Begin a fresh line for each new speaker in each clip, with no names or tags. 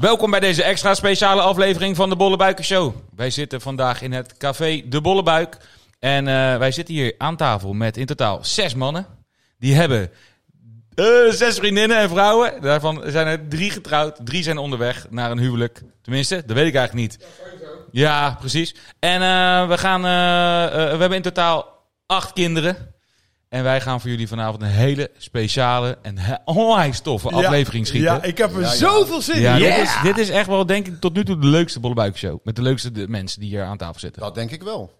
Welkom bij deze extra speciale aflevering van de Bollebuiken Show. Wij zitten vandaag in het café De Bollebuik. En eh, wij zitten hier aan tafel met in totaal zes mannen. Die hebben eh, zes vriendinnen en vrouwen. Daarvan zijn er drie getrouwd, drie zijn onderweg naar een huwelijk. Tenminste, dat weet ik eigenlijk niet. Ja, precies. En eh, we, gaan, eh, eh, we hebben in totaal acht kinderen. En wij gaan voor jullie vanavond een hele speciale en he- onwijs toffe aflevering schieten.
Ja, ik heb er zoveel zin in.
Ja,
Ja.
dit, is, dit is echt wel, denk ik, tot nu toe de leukste bollebuikshow. Met de leukste de- mensen die hier aan tafel zitten.
Dat denk ik wel.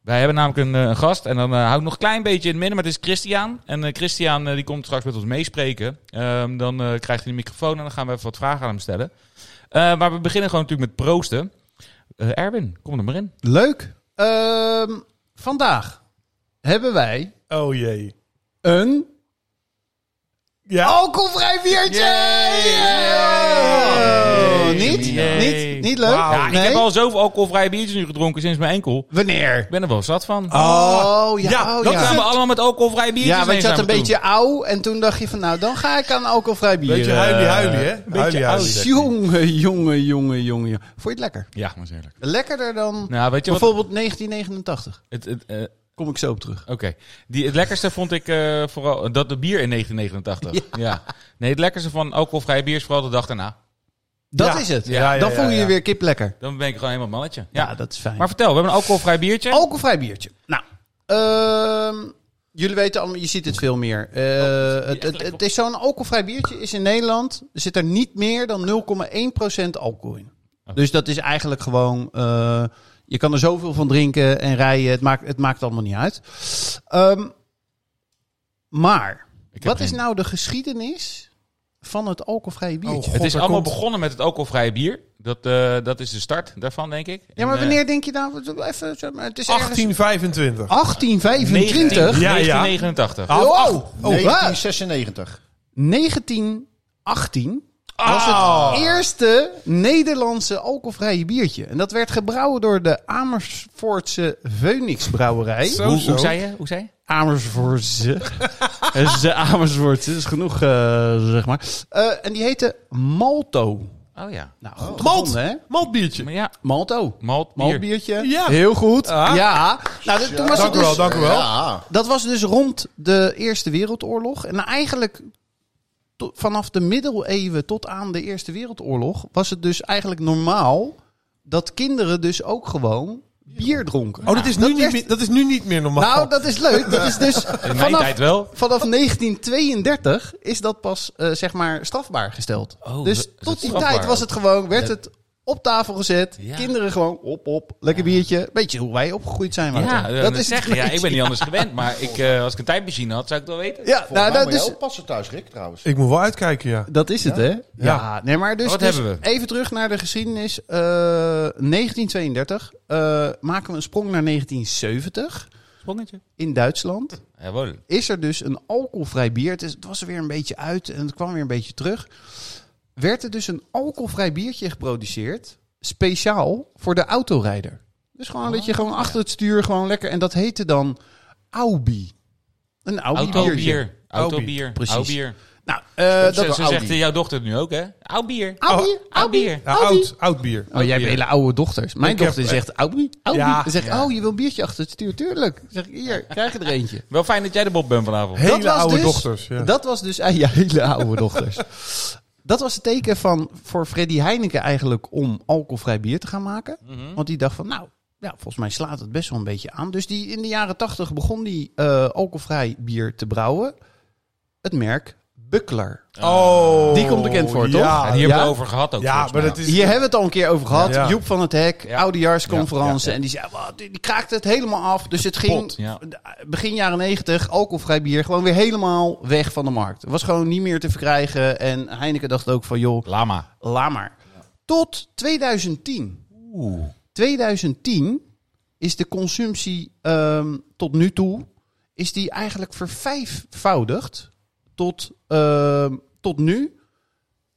Wij hebben namelijk een, eh, een gast. En dan eh, hou ik nog een klein beetje in het midden. Maar het is Christian. En eh, Christian eh, die komt straks met ons meespreken. Ehm, dan eh, krijgt hij de microfoon. En dan gaan we even wat vragen aan hem stellen. Eh, maar we beginnen gewoon natuurlijk met proosten. Eh, Erwin, kom er maar in.
Leuk. Ehm, vandaag hebben wij
Oh jee.
een
Ja.
alcoholvrij biertje.
Yay!
Oh, Niet?
Yay.
Niet? Niet leuk?
Wauw.
Ja, ik
Nee?
heb al zoveel alcoholvrije biertjes nu gedronken sinds mijn enkel.
Wanneer?
Ik ben er wel zat van.
Ah,
Oh, ja.
Ja,
oh,
dat
We
ja.
kwamen allemaal met alcoholvrije biertjes
ja, want
heen
je had een
samen toe.
beetje auw en toen dacht je van nou, dan ga ik aan alcoholvrij bier.
Beetje
eh,
huilie huilie, hè?
beetje
Huilie
oud.
huilie.
Jongen, jongen, jongen, jongen. jongen. Vond je het lekker?
Ja, maar zeker.
Lekkerder dan
Nou, weet je wat?
bijvoorbeeld 1989.
Het, het, eh,
Kom ik zo op terug.
Oké. Die- Het lekkerste vond ik eh, vooral dat de bier in 1989. Ja. Nee, het lekkerste van alcoholvrij bier is vooral de dag daarna.
Dat
Ja.
is het.
Ja, ja,
dan
ja,
voel je
ja.
je weer kip lekker.
Dan ben ik gewoon helemaal mannetje. Ja.
Ja, Oh, dat is fijn.
Maar vertel, we hebben een alcoholvrij biertje.
Alcoholvrij biertje. Nou, ehm, jullie weten allemaal, je
Oh.
ziet het veel
Oh,
meer. Eh, het, het, het is zo'n alcoholvrij biertje is in Nederland, zit er niet meer dan 0,1% alcohol in.
Oh.
Dus dat is eigenlijk gewoon, eh, je kan er zoveel van drinken en rijden, het maakt, het maakt allemaal niet uit. Ehm, maar,
Ik heb
wat is
geen-
nou de geschiedenis van het alcoholvrije biertje?
Oh,
Het is
God, er
allemaal
komt-
begonnen met het alcoholvrije bier. Dat, eh, dat is de start daarvan, denk ik.
ja, maar
En, eh,
wanneer denk je nou, even, zeg maar, het is ergens
1825.
eh,
1825?
19-
Ja, ja.
1989.
Ah,
Wow.
acht-
Oh, wat? 1996. 1918 was
Ah.
het eerste Nederlandse alcoholvrije biertje. En dat werd gebrouwen door de Amersfoortse Veunix Brouwerij.
Zo,
hoe,
zo.
hoe zei je? Hoe zei je?
Amersfoortse. Dat is de Amersfoortse, dat is genoeg, eh, zeg maar. Eh, en die heette Malto.
Oh ja.
Nou, goed
Malt.
gevonden, hè?
Maltbiertje.
Maar ja,
Malto.
malt, bier.
Maltbiertje.
Ja.
Heel goed.
Ah.
Ja. Nou, dat- toen was
Dank
het
u wel,
dus
dank u wel.
Ja. Dat was dus rond de Eerste Wereldoorlog. En eigenlijk to- vanaf de middeleeuwen tot aan de Eerste Wereldoorlog was het dus eigenlijk normaal dat kinderen dus ook gewoon bier dronken.
Oh, dat is, nu niet,
werd-
meer- dat is nu niet meer normaal.
Nou, dat is leuk. Dat is dus
In mijn
vanaf,
tijd wel.
vanaf 1932 is dat pas eh, zeg maar strafbaar gesteld.
Oh, is
dus
het
tot die
strafbaar
tijd was
ook?
het gewoon, werd het op tafel gezet.
Ja.
Kinderen gewoon op, op, lekker biertje. Beetje hoe wij opgegroeid zijn. Wouter.
Ja, dat is
het
zeggen. Ja,
beetje.
ik ben niet anders gewend. Maar ik, eh, als ik een tijdmachine had, zou ik het wel weten.
Ja, nou, dat is.
passen thuis, Rick, trouwens.
Ik moet wel uitkijken, ja.
Dat is het, hè? Ja.
Ja.
Nee, maar dus,
Wat
dus
hebben we?
even terug naar de geschiedenis. Eh, 1932 eh, maken we een sprong naar 1970
Sprongetje.
in Duitsland.
Jawel.
Is er dus een alcoholvrij bier? Het, is- het was er weer een beetje uit en het kwam weer een beetje terug. Werd er dus een alcoholvrij biertje geproduceerd speciaal voor de autorijder? Dus gewoon dat je
Oh,
gewoon achter het stuur gewoon lekker en dat heette dan Aubi. Een Audi biertje.
Autobier.
Aubi.
Autobier.
Precies.
Autobier.
Nou, eh,
Ze,
dat
ze
Audi.
zegt eh, jouw dochter het nu ook, hè? Oud bier.
Audi,
Oh,
Audi,
Audi.
Ja,
Audi.
oud, oud bier.
Oh, jij hebt
bier.
hele oude dochters. Mijn
Ik
dochter
heb,
zegt, Audi, Audi.
ja,
Dan zegt, oh, je wil een biertje achter het stuur? Tuurlijk. Dan zeg ik, hier, krijg je er eentje.
Wel fijn dat jij de Bob bent vanavond.
Hele
was
oude
dus-
dochters. Ja.
Dat was dus, ah, ja, hele oude dochters. Dat was het teken van, voor Freddy Heineken eigenlijk om alcoholvrij bier te gaan maken.
Mhm.
Want die dacht van, nou, ja, volgens mij slaat het best wel een beetje aan. Dus die, in de jaren tachtig begon die eh, alcoholvrij bier te brouwen. Het merk Buckler.
Oh.
Die komt bekend voor, toch?
Ja,
Ja, die
ja.
hebben we over gehad ook.
Ja,
volgens
maar
mij.
dat is...
Hier hebben we het al een keer over gehad.
Ja.
Joep van het Hek,
Ja.
oudejaarsconferentie.
Ja, ja, ja.
En die zei, wat, die die kraakte het helemaal af. Dus het ging
Kapot, ja.
begin jaren negentig, alcoholvrij bier, gewoon weer helemaal weg van de markt. Het was gewoon niet meer te verkrijgen. En Heineken dacht ook van, joh,
Lama.
laat maar. Tot 2010.
Oeh.
2010 is de consumptie ehm, tot nu toe is die eigenlijk vervijfvoudigd tot, ehm, tot nu.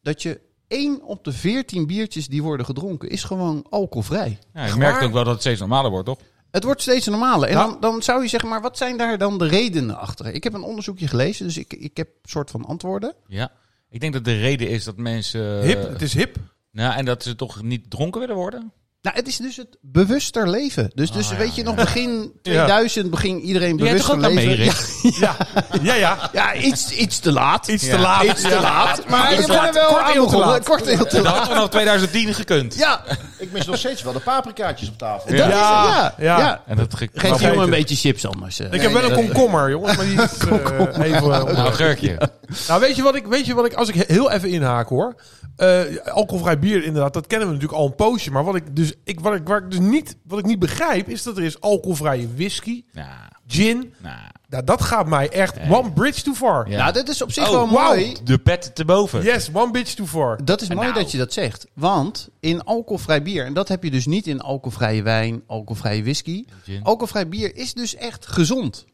Dat je 1 op de 14 biertjes die worden gedronken is gewoon alcoholvrij.
Ja, ik merk ook wel dat het steeds normaler wordt, toch?
Het wordt steeds normaler. En
Nou.
dan, dan zou je zeggen, maar wat zijn daar dan de redenen achter? Ik heb een onderzoekje gelezen, dus ik, ik heb een soort van antwoorden.
Ja. Ik denk dat de reden is dat mensen... eh,
hip, het is hip.
nou, en dat ze toch niet dronken willen worden.
Nou, het is dus het bewuster leven. Dus, dus
Ah, ja,
weet je nog, begin 2000 begin iedereen
Doe jij toch
bewuster
ook aan mee,
leven. Ja,
Rick?
Ja, ja.
ja, iets, iets te laat.
Iets te
Ja.
laat.
Iets te laat. Maar
Iets
ik
te
ben
laat.
er wel
Kort
aan
heel te
begonnen.
laat.
Kort heel te
Dat
laat.
had vanaf 2010 gekund.
Ja,
Ik mis nog steeds wel de paprikaatjes op tafel.
dat is het,
Ja,
ja.
Ah, ja.
ja.
En dat ge-
Geef
Mag
jongen een
eten.
beetje chips anders. eh.
Ik heb wel een komkommer, jongens. Maar die is, eh, even, eh,
Nou, een geurkje.
Nou, weet je wat ik, weet je wat ik als ik he- heel even inhaak hoor. Eh, alcoholvrij bier, inderdaad, dat kennen we natuurlijk al een poosje. Maar wat ik dus, ik, wat ik, waar ik dus niet, wat ik niet begrijp, is dat er is alcoholvrije whisky,
Nou,
gin.
nou.
Nou, dat gaat mij echt one bridge too far.
Ja.
Nou, dat is op zich
Oh,
wel
wauw.
mooi.
De pet te boven.
Yes, one bridge too far.
Dat is mooi
Nou.
dat je dat zegt. Want in alcoholvrij bier, en dat heb je dus niet in alcoholvrije wijn, alcoholvrije whisky.
Gin.
Alcoholvrij bier is dus echt gezond.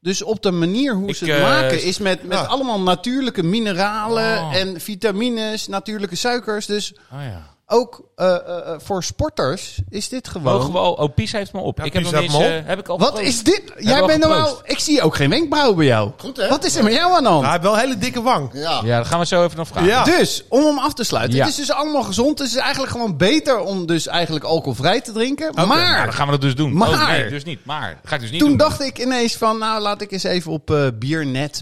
Dus op de manier hoe
Ik,
ze het
eh,
maken is met, met
ah.
allemaal natuurlijke mineralen
Oh.
en vitamines, natuurlijke suikers. Dus
Oh ja.
ook eh, eh, eh, voor sporters is dit gewoon...
Mogen we al... Oh, Pies heeft me op.
Ja,
ik heb
Pies
nog niet
heeft
eens...
me op.
eh, heb ik al
Wat
geproost.
is dit?
we
Jij
al
bent normaal...
geproost?
Ik zie ook geen wenkbrauw bij jou.
Goed, hè?
Wat is er met jou aan de hand?
hij heeft wel een hele dikke wang.
Ja.
Ja, daar gaan we zo even nog vragen.
Ja.
Dus, om hem af te sluiten.
Ja.
Het is dus allemaal gezond. Het is eigenlijk gewoon beter om dus eigenlijk alcoholvrij te drinken.
Nou,
Maar,
dan gaan we dat dus doen.
Maar-
Oh, nee, dus niet. Maar. Dat ga ik dus niet
toen
doen.
dacht ik ineens van, nou laat ik eens even op eh,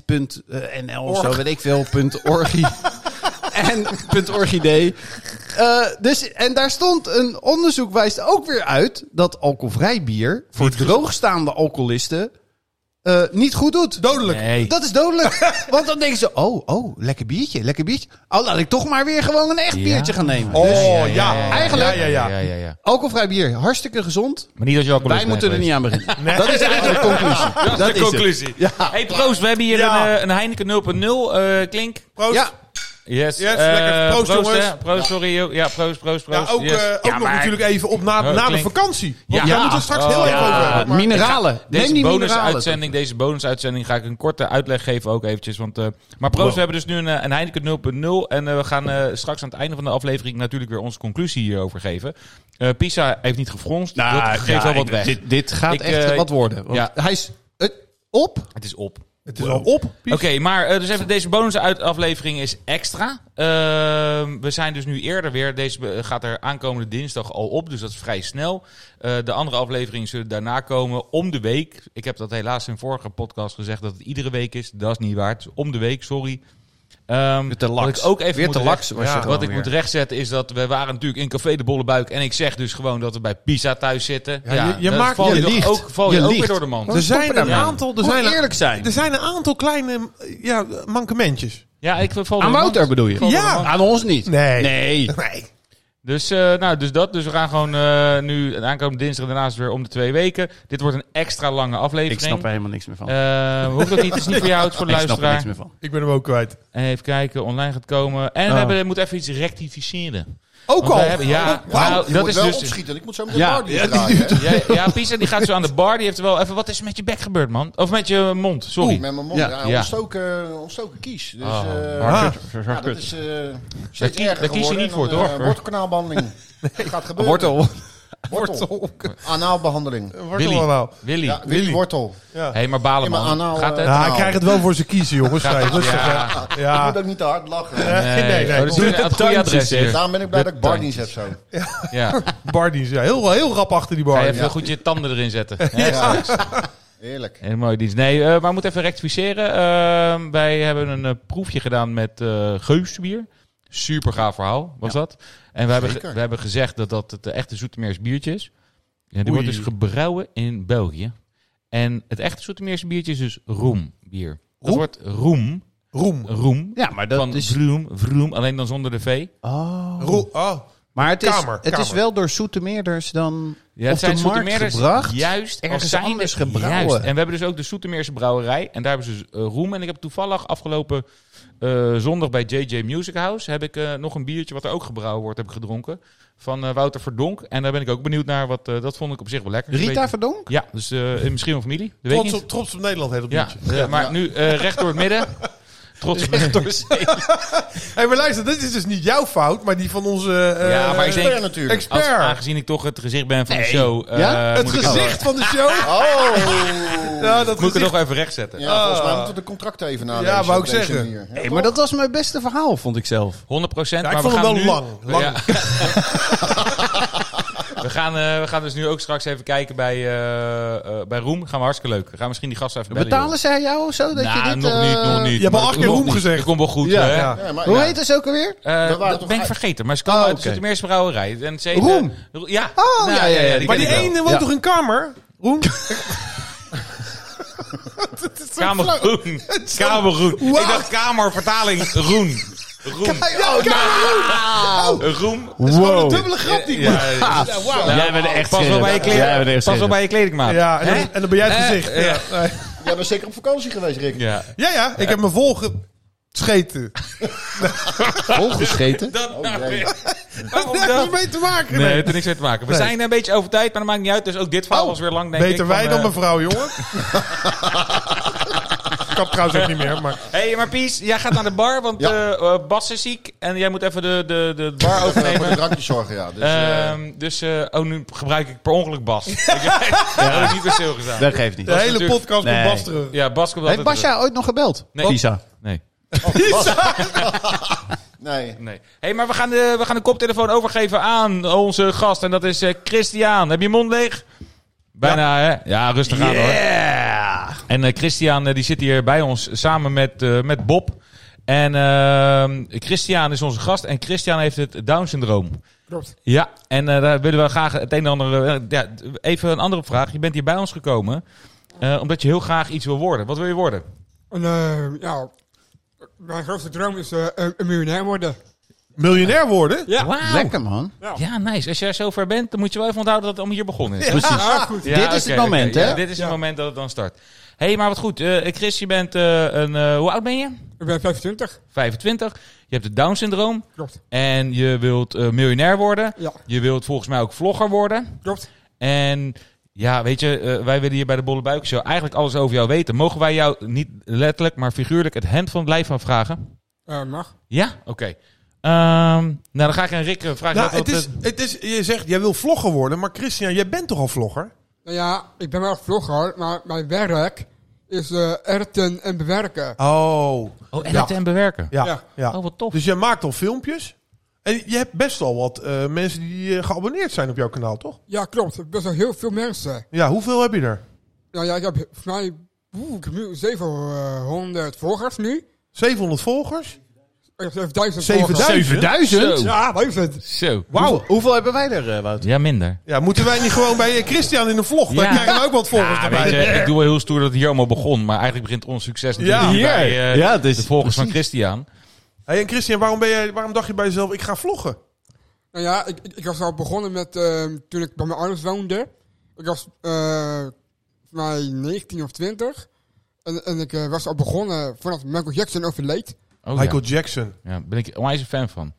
biernet.nl of zo, weet ik veel, punt .orgie. en punt .orgidee. Eh, dus, en daar stond een onderzoek wijst ook weer uit dat alcoholvrij bier voor droogstaande alcoholisten eh, niet goed doet.
Dodelijk.
Nee.
Dat is dodelijk. Want dan denken ze, oh, oh, lekker biertje, lekker biertje. Oh, laat ik toch maar weer gewoon een echt
Ja.
biertje gaan nemen.
Oh,
Dus
ja,
Eigenlijk-
Ja, ja, ja.
Ja, ja, ja.
alcoholvrij bier, hartstikke gezond.
Maar niet als je alcoholist
Wij moeten er niet aan beginnen.
Nee.
Dat is eigenlijk de conclusie.
Dat, is de conclusie. Hey, proost. We hebben hier
Ja.
een, eh, een Heineken 0.0 eh, klink.
Proost.
Ja,
Yes.
Yes,
eh,
lekker. Proost, jongens.
hè. Proost, sorry. joh. Ja, proost, proost,
Ja,
proost.
ook,
Yes.
eh, ook
Ja,
nog
maar
natuurlijk even op na,
Ja,
na de
klinkt-
vakantie. Want
Ja.
daar moeten we straks
Oh,
heel even
ja.
over hebben. Maar-
Ah, mineralen. Neem
Deze
die mineralen.
bonusuitzending, deze bonusuitzending ga ik een korte uitleg geven ook eventjes. Want, eh, maar proost, we hebben dus nu een, eh, een Heineken 0.0. En eh, we gaan eh, straks aan het einde van de aflevering natuurlijk weer onze conclusie hierover geven. Eh, Pisa heeft niet gefronst.
Nou,
dat geeft wel wat weg.
Dit, dit gaat
Ik,
echt
eh,
wat worden. Want
ja.
Hij is eh, op.
Het is op.
Het is al op.
Oké, maar eh, dus even, deze bonusaflevering is extra. Ehm, we zijn dus nu eerder weer. Deze be- gaat er aankomende dinsdag al op, dus dat is vrij snel. Eh, de andere afleveringen zullen daarna komen, om de week. Ik heb dat helaas in vorige podcast gezegd dat het iedere week is. Dat is niet waar, het is om de week, sorry. Ehm,
Te laks.
Wat ik ook even
Weer
moet
te
recht-
laks was je
ja,
gewoon
Wat ik
weer.
moet rechtzetten is dat we waren natuurlijk in Café de Bollebuik. En ik zeg dus gewoon dat we bij Pisa thuis zitten. Ja,
je- je
dan
maakt-
val
je
je, toch
liegt.
ook, val
Je
je ook weer
liegt.
door de man.
Er zijn een
Ja.
aantal... Er
Gewoon
zijn een-
eerlijk zijn.
Er zijn een aantal kleine eh, ja, mankementjes.
Ja, ik val door
Aan
de man.
Wouter bedoel je?
Val door
Ja.
de man.
Aan ons niet.
Nee.
Nee.
Nee.
Dus, eh, nou, dus dat. Dus we gaan gewoon eh, nu aankomende dinsdag en daarnaast weer om de twee weken. Dit wordt een extra lange aflevering.
Ik snap er helemaal niks meer van.
Eh, hoeft ook niet. Het is niet voor jou, het is voor de
ik snap er niks
luisteraar.
meer van.
Ik ben hem ook kwijt.
Even kijken, online gaat komen. En we
Oh.
hebben, moeten even iets rectificeren.
Ook
Want
al.
we hebben- ja,
Oh, Wauw,
nou,
je
dat
moet
is
wel
dus...
opschieten. Ik moet zo meteen
Ja.
ja.
Ja, die
draaien. hè?
Ja, ja, Pisa die gaat zo aan de bar. Die heeft wel even... Wat is er met je bek gebeurd, man? Of met je mond, sorry.
Met mijn mond.
Ja.
Ja,
Ja.
ontstoken, ontstoken kies. Dus,
Oh,
eh,
hard.
Ah.
ja, dat is eh, steeds
Daar kies-
erger
daar kies je
geworden.
niet voor,
En dan,
toch?
eh, wortelkanaalbehandeling. Dat gaat gebeuren.
Wortel.
Wortel.
Wortel.
Anaalbehandeling.
Wortel
Willy.
allemaal.
Willy.
Ja, Willy Wortel.
Ja.
Hé, maar balen,
In mijn
man.
anaal,
Gaat
eh,
het?
Ja,
Nou.
hij krijgt het wel voor zijn kiezen, jongens. Nee, rustig,
Ja.
hè.
Ah.
Ik moet
ja.
ook niet te hard lachen.
Nee, nee,
Oh, dat is
Doe
weer het
de
goede
tandjes,
adres
hè.
hier.
Daarom ben ik blij
De
dat ik bar niet
tandjes.
zet zo.
Ja.
Bar die is ja, heel, heel rap achter die
Ga je
bar.
even goed je tanden erin zetten. hè?
Ja. Heerlijk.
Een mooie dienst. Nee, eh, maar we moeten even rectificeren. Eh, wij hebben een eh, proefje gedaan met eh geusbier. Super gaaf verhaal was dat. En we hebben, ge-
Zeker.
we hebben gezegd dat dat het echte Zoetermeers biertje is. Ja, die
Oei.
wordt dus gebrouwen in België. En het echte Zoetermeers biertje is dus roembier. Dat
Roem?
wordt roem.
Roem.
Roem.
Ja, maar dat
van
is...
vroom, vroom, alleen dan zonder de V.
Oh.
Roem. Oh.
Maar het is,
Kamer,
het is
kamer.
wel door Soetermeerders dan
Ja,
op de markt
Soetermeerders
gebracht.
Juist,
ergens
als zijnde-
anders gebrouwen.
En we hebben dus ook de Soetermeerse brouwerij. En daar hebben ze dus eh, roem. En ik heb toevallig afgelopen eh, zondag bij JJ Music House... heb ik eh, nog een biertje wat er ook gebrouwen wordt, heb ik gedronken. Van eh, Wouter Verdonk. En daar ben ik ook benieuwd naar. Wat, eh, dat vond ik op zich wel lekker. Een
Rita
beetje-
Verdonk?
Ja, dus eh, misschien wel familie. Dat weet ik
Trots,
niet.
op, trots op Nederland heet dat
Ja,
biertje.
eh, maar nu eh, recht door het midden. trots weg door zee.
hey, maar luister, dit is dus niet jouw fout, maar die van onze eh,
Ja, maar ik denk-
Expert natuurlijk.
Als,
expert.
aangezien ik toch het gezicht ben van de show. eh,
Ja?
het
moet ik-
gezicht van de show.
Oh!
ja, dat
Moet ik het
gezicht.
nog even recht zetten.
Ja, volgens mij moeten we de contracten even nalezen.
Ja, wou
op
ik
deze
zeggen.
manier. Ja,
Hey, maar dat was mijn beste verhaal, vond ik zelf.
100 procent.
Ja, ik
maar we
vond hem
gaan
wel
nu...
lang, lang.
Ja. we, gaan, eh, we gaan dus nu ook straks even kijken bij, eh, eh, bij Roem. Gaan we hartstikke leuk. Gaan we misschien die gasten even bellen.
Betalen zij jou of zo? Dat
Nou,
je dit,
nog
eh,
niet, nog niet.
je hebt al
Maar
acht keer
nog
Roem
niet.
gezegd.
Dat komt wel goed,
Ja,
hè?
ja.
Ja, maar,
Hoe
ja.
heet het ook alweer?
Eh,
We
dat
waren toch
ben ik
uit-
vergeten, maar ze kwam
Oh,
uit de
oké.
Zoetermeerse brouwerij. En ze heet,
Roem?
eh, Ro- ja.
Oh, ja, ja, ja, die
Maar die
ken ik
ene
wel.
woont
Ja.
toch in kamer? Roem?
Kamergroen. Kamergroen. Ik dacht kamervertaling Roen. Roem.
Oh,
Ja,
nou,
kamer.
Roem.
Gewoon een
Wow.
dubbele grap die ik maak.
Ja, ja.
Jij bent echt
Pas wel bij je,
scherp.
kleren,
Jij bent echt
pas wel
scherp.
bij je kledingmaat.
Ja, en
Hè?
dan, en dan ben jij het
Eh,
gezicht.
ja.
Ja, nee.
Jij bent zeker op vakantie geweest, Rick.
Ja.
ja, ja, ik heb me volgescheten.
Volgescheten.
Dat nou
Oh, jee.
Waarom
Nergens
dat?
mee te maken.
Oh, Nee, het
nee.
heeft er niks mee te maken. We
Nee.
zijn een beetje over tijd, maar dat maakt niet uit. Dus ook dit verhaal was weer lang, denk ik.
Beter wij
van,
dan
eh,
mevrouw, jongen. Ik Kap trouwens ook niet meer, maar...
hey, maar Pies, jij gaat naar de bar, want
Ja.
eh, eh, Bas is ziek. En jij moet even de, de, de bar
Even eh, voor de
overnemen.
drankjes zorgen, ja. Dus, eh,
Ehm, dus, eh, oh, nu gebruik ik per ongeluk Bas. Ik heb het niet per stil gedaan.
Dat geeft niet.
De hele
natuurlijk-
podcast
Nee.
komt Bas terug.
Ja, Bas komt
Heeft
altijd
Basja ooit nog gebeld?
terug. Nee.
Lisa.
Nee.
nee.
nee. hey, maar we gaan, de, we gaan de koptelefoon overgeven aan onze gast. En dat is eh, Christian. Heb je mond leeg? Bijna, hè? Ja, rustig aan hoor.
Yeah.
En eh, Christian eh, die zit hier bij ons samen met, eh, met Bob. En ehm, Christian is onze gast en Christian heeft het Down-syndroom.
Klopt.
Ja, en eh, daar willen we graag het een en ander... eh, ja, even een andere vraag. Je bent hier bij ons gekomen eh, omdat je heel graag iets wil worden. Wat wil je worden?
En, eh, ja, mijn grootste droom is eh, een, een miljonair worden.
Miljonair worden?
Ja.
Wauw.
Lekker, man.
Ja, nice. Als jij zo ver bent, dan moet je wel even onthouden dat het allemaal hier begonnen is.
Precies.
Ah, goed.
Ja,
Dit is
oké,
het moment,
oké.
hè?
Ja, dit is
Ja.
het moment dat het dan start. Hé, hey, maar wat goed. Eh Chris, je bent eh, een... eh, hoe oud ben je?
Ik ben 25.
25. Je hebt het Down-syndroom.
Klopt.
En je wilt eh, miljonair worden.
Ja,
Je wilt volgens mij ook vlogger worden.
klopt.
En ja, weet je, eh, wij willen hier bij de Bolle Buik Show eigenlijk alles over jou weten. Mogen wij jou niet letterlijk, maar figuurlijk het hemd van het lijf afvragen?
Eh, mag.
Ja? Oké. Ehm, nou, dan ga ik aan Rick eh, vragen.
Nou,
wat-
het is, het is, je zegt, jij wil vlogger worden, maar Christian, jij bent toch al vlogger?
Nou ja, ik ben wel vlogger, maar mijn werk is eh erten en bewerken.
Oh,
oh, en
ja.
het en bewerken.
ja. ja.
Ja.
Oh, wat tof.
Dus jij maakt al filmpjes. En je hebt best al wat eh, mensen die eh, geabonneerd zijn op jouw kanaal, toch?
Ja, klopt. Best wel heel veel mensen.
Ja, hoeveel heb je er?
Nou ja, ik heb voor mij oeh, ik heb nu 700 volgers nu.
700 volgers?
Ik heb 7000 volgers.
7000?
7000?
Zo.
Ja, 1000.
Zo.
Wauw.
Hoeveel hebben wij er, eh, Wouter?
Ja, minder.
Ja, moeten wij niet gewoon bij eh, Christian in de vlog? Dan
Ja.
krijgen we ook wat volgers
Ja,
erbij.
weet je, ik doe wel heel stoer dat het hier allemaal begon. Maar eigenlijk begint ons succes natuurlijk
Ja.
hier
Hier.
bij eh,
Ja, dus-
de volgers van Christian.
Hey, en Christian, waarom, ben jij, waarom dacht je bij jezelf, ik ga
Oh,
vloggen?
Nou ja, ik, ik, ik was al begonnen met ehm, toen ik bij mijn ouders woonde. Ik was eh voor mij 19 of 20. En, en ik eh, was al begonnen voordat Michael Jackson overleed.
Oh,
Michael Jackson.
Ja, ja ben ik onwijs een fan van.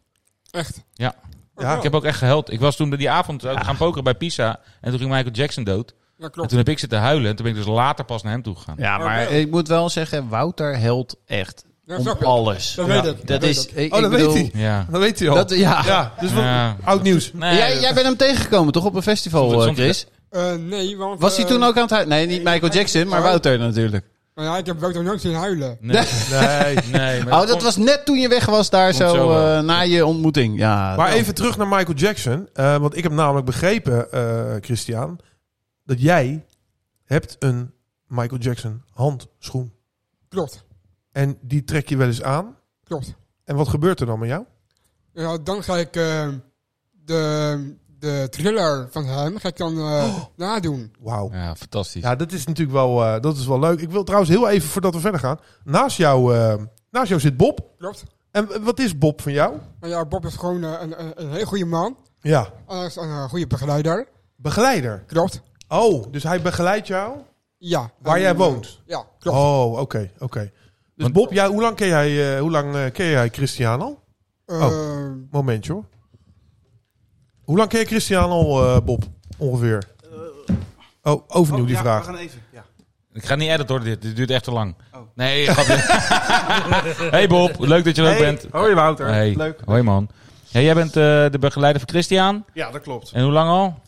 Echt.
Ja.
Ja.
Ik heb ook echt gehuild. Ik was toen die avond eh, gaan pokeren bij Pisa. En toen ging Michael Jackson dood.
Ja,
En
klopt.
toen heb ik zitten huilen. En toen ben ik dus later pas naar hem toe gegaan.
Ja, maar...
Ik moet wel zeggen, Wouter helpt echt
Ja,
om
snap je.
alles.
Dat weet ik.
Dat is...
weet ik.
Ik,
Oh,
ik
dat weet
bedoel-
hij.
Ja.
Dat weet hij al.
Dat, ja.
Ja, dus wat,
Ja. Nou,
oud nieuws.
Nee,
jij, jij bent hem tegengekomen, toch? Op een festival, eh,
Soms-
Chris?
Eh, nee, want...
Was hij
eh,
toen ook aan het huilen? Nee, niet Michael Jackson, maar Wouter natuurlijk.
Nou ja, ik heb Wouter nooit zien huilen.
Nee.
Nee.
nee, maar
Oh, dat was net toen je weg was daar
Komt
zo,
zo wel.
eh, na je ontmoeting. Ja,
nou.
Maar even terug naar Michael Jackson. eh, want ik heb namelijk begrepen, eh, Christian, dat jij hebt een Michael Jackson handschoen.
Klopt.
En die trek je wel eens aan.
Klopt.
En wat gebeurt er dan met jou?
Ja, dan ga ik ehm, de, de thriller van hem ga ik dan eh,
Oh.
nadoen.
Wauw.
Ja, fantastisch.
Ja, dat is natuurlijk wel, eh, dat is wel leuk. Ik wil trouwens heel even, voordat we verder gaan, naast jou, eh, naast jou zit Bob.
Klopt.
En w- wat is Bob van jou?
Maar ja, Bob is gewoon eh, een, een, een heel goede man.
Ja,
Hij is een eh, goede begeleider.
begeleider.
Klopt.
Oh, Ehm, dus hij begeleidt jou
Ja.
waar
En,
jij
eh,
woont.
Ja, klopt.
Oh, oké, oké. Dus
Want-
Bob, jij, hoe lang ken jij, eh, hoe lang, eh, ken jij Christian al? Oh.
Eh,
Momentje hoor. Hoe lang ken je
Eh,
Christian al, eh, Bob? Ongeveer. Oh, overnieuw die vraag.
gaan even. Ja.
Ik ga niet editen hoor, dit, dit duurt echt te lang.
Oh.
Nee, grapje. hey Bob, leuk dat je er ook bent.
Hoi Wouter.
Hey.
Oh, Leuk.
Hoi man. Hey, jij bent eh, de begeleider van Christian.
Ja, dat klopt.
En hoe lang al?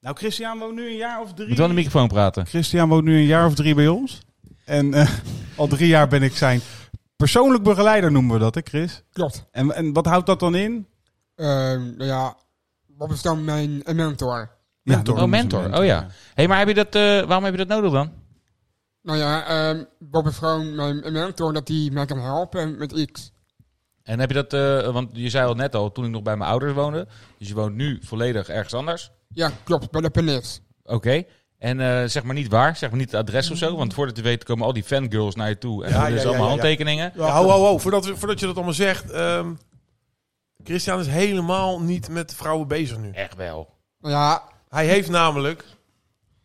Nou, Christian woont nu een jaar of drie.
Moet wel in de microfoon praten.
Christian woont nu een jaar of drie bij ons. En eh, al drie jaar ben ik zijn persoonlijk begeleider, noemen we dat, hè Chris?
Klopt.
En, en wat houdt dat dan in?
Ehm, nou ja, wat is dan mijn een mentor?
Mentor.
Oh, mentor. Oh ja. hey, maar heb je dat, eh, waarom heb je dat nodig dan?
Nou ja, ehm, Bob is gewoon mijn een mentor dat hij mij kan helpen met iets.
En heb je dat, eh, want je zei al net al, toen ik nog bij mijn ouders woonde. Dus je woont nu volledig ergens anders.
Ja, klopt, bij de penis.
Oké. En eh, zeg maar niet waar, zeg maar niet het adres of zo. Want voordat je weet komen al die fangirls naar je toe. En
Ja,
dan is
ja, ja,
allemaal
ja.
handtekeningen.
Ja, ho, ho, ho. Voordat, we- voordat je dat allemaal zegt. ehm, Christian is helemaal niet met vrouwen bezig nu.
Echt wel.
Nou ja,
Hij heeft namelijk,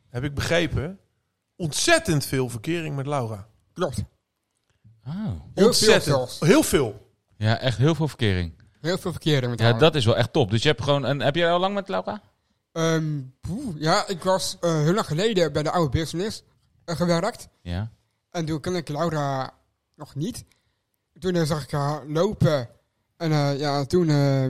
heb ik begrepen, ontzettend veel verkering met Laura.
klopt.
Oh.
Heel veel
Ontzettend.
zelfs.
Heel veel.
Ja, echt heel veel verkering.
Heel veel verkeerde met
Ja,
Nou.
haar.
dat is wel echt top. Dus je hebt gewoon, en heb jij al lang met Laura?
Ehm, poeh, ja, ik was eh, heel lang geleden bij de oude business eh, gewerkt.
Ja.
En toen kende ik Laura nog niet. Toen eh, zag ik haar lopen. En eh, ja, toen eh,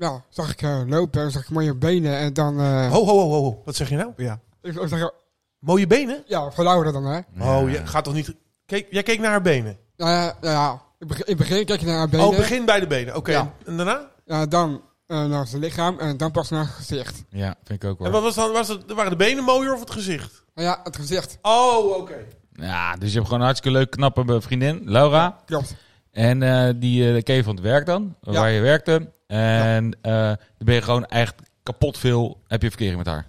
ja, zag ik haar lopen en zag ik mooie benen. En dan... eh,
Ho, ho, ho, ho, ho. Wat zeg je nou?
Ja.
ik, ik zag,
Mooie benen?
ja, van Laura dan, hè.
Oh, je gaat toch niet... Kijk, jij keek naar haar benen.
Ja, ja, ja, ja. In beg- in het begin kijk je naar haar benen.
Oh, begin bij de benen. Oké.
Ja.
En daarna?
Ja, dan eh, naar zijn lichaam en dan pas naar het gezicht.
Ja, vind ik ook
En
wel.
wat was dan? Was het, waren de benen mooier of het gezicht?
Nou ja, het gezicht.
Oh, oké.
Ja, dus je hebt gewoon een hartstikke leuk, knappe vriendin, Laura.
Klopt.
En eh, die eh ken je van het werk dan,
Ja.
waar je werkte. En eh dan ben je gewoon echt kapot veel, heb je verkering met haar.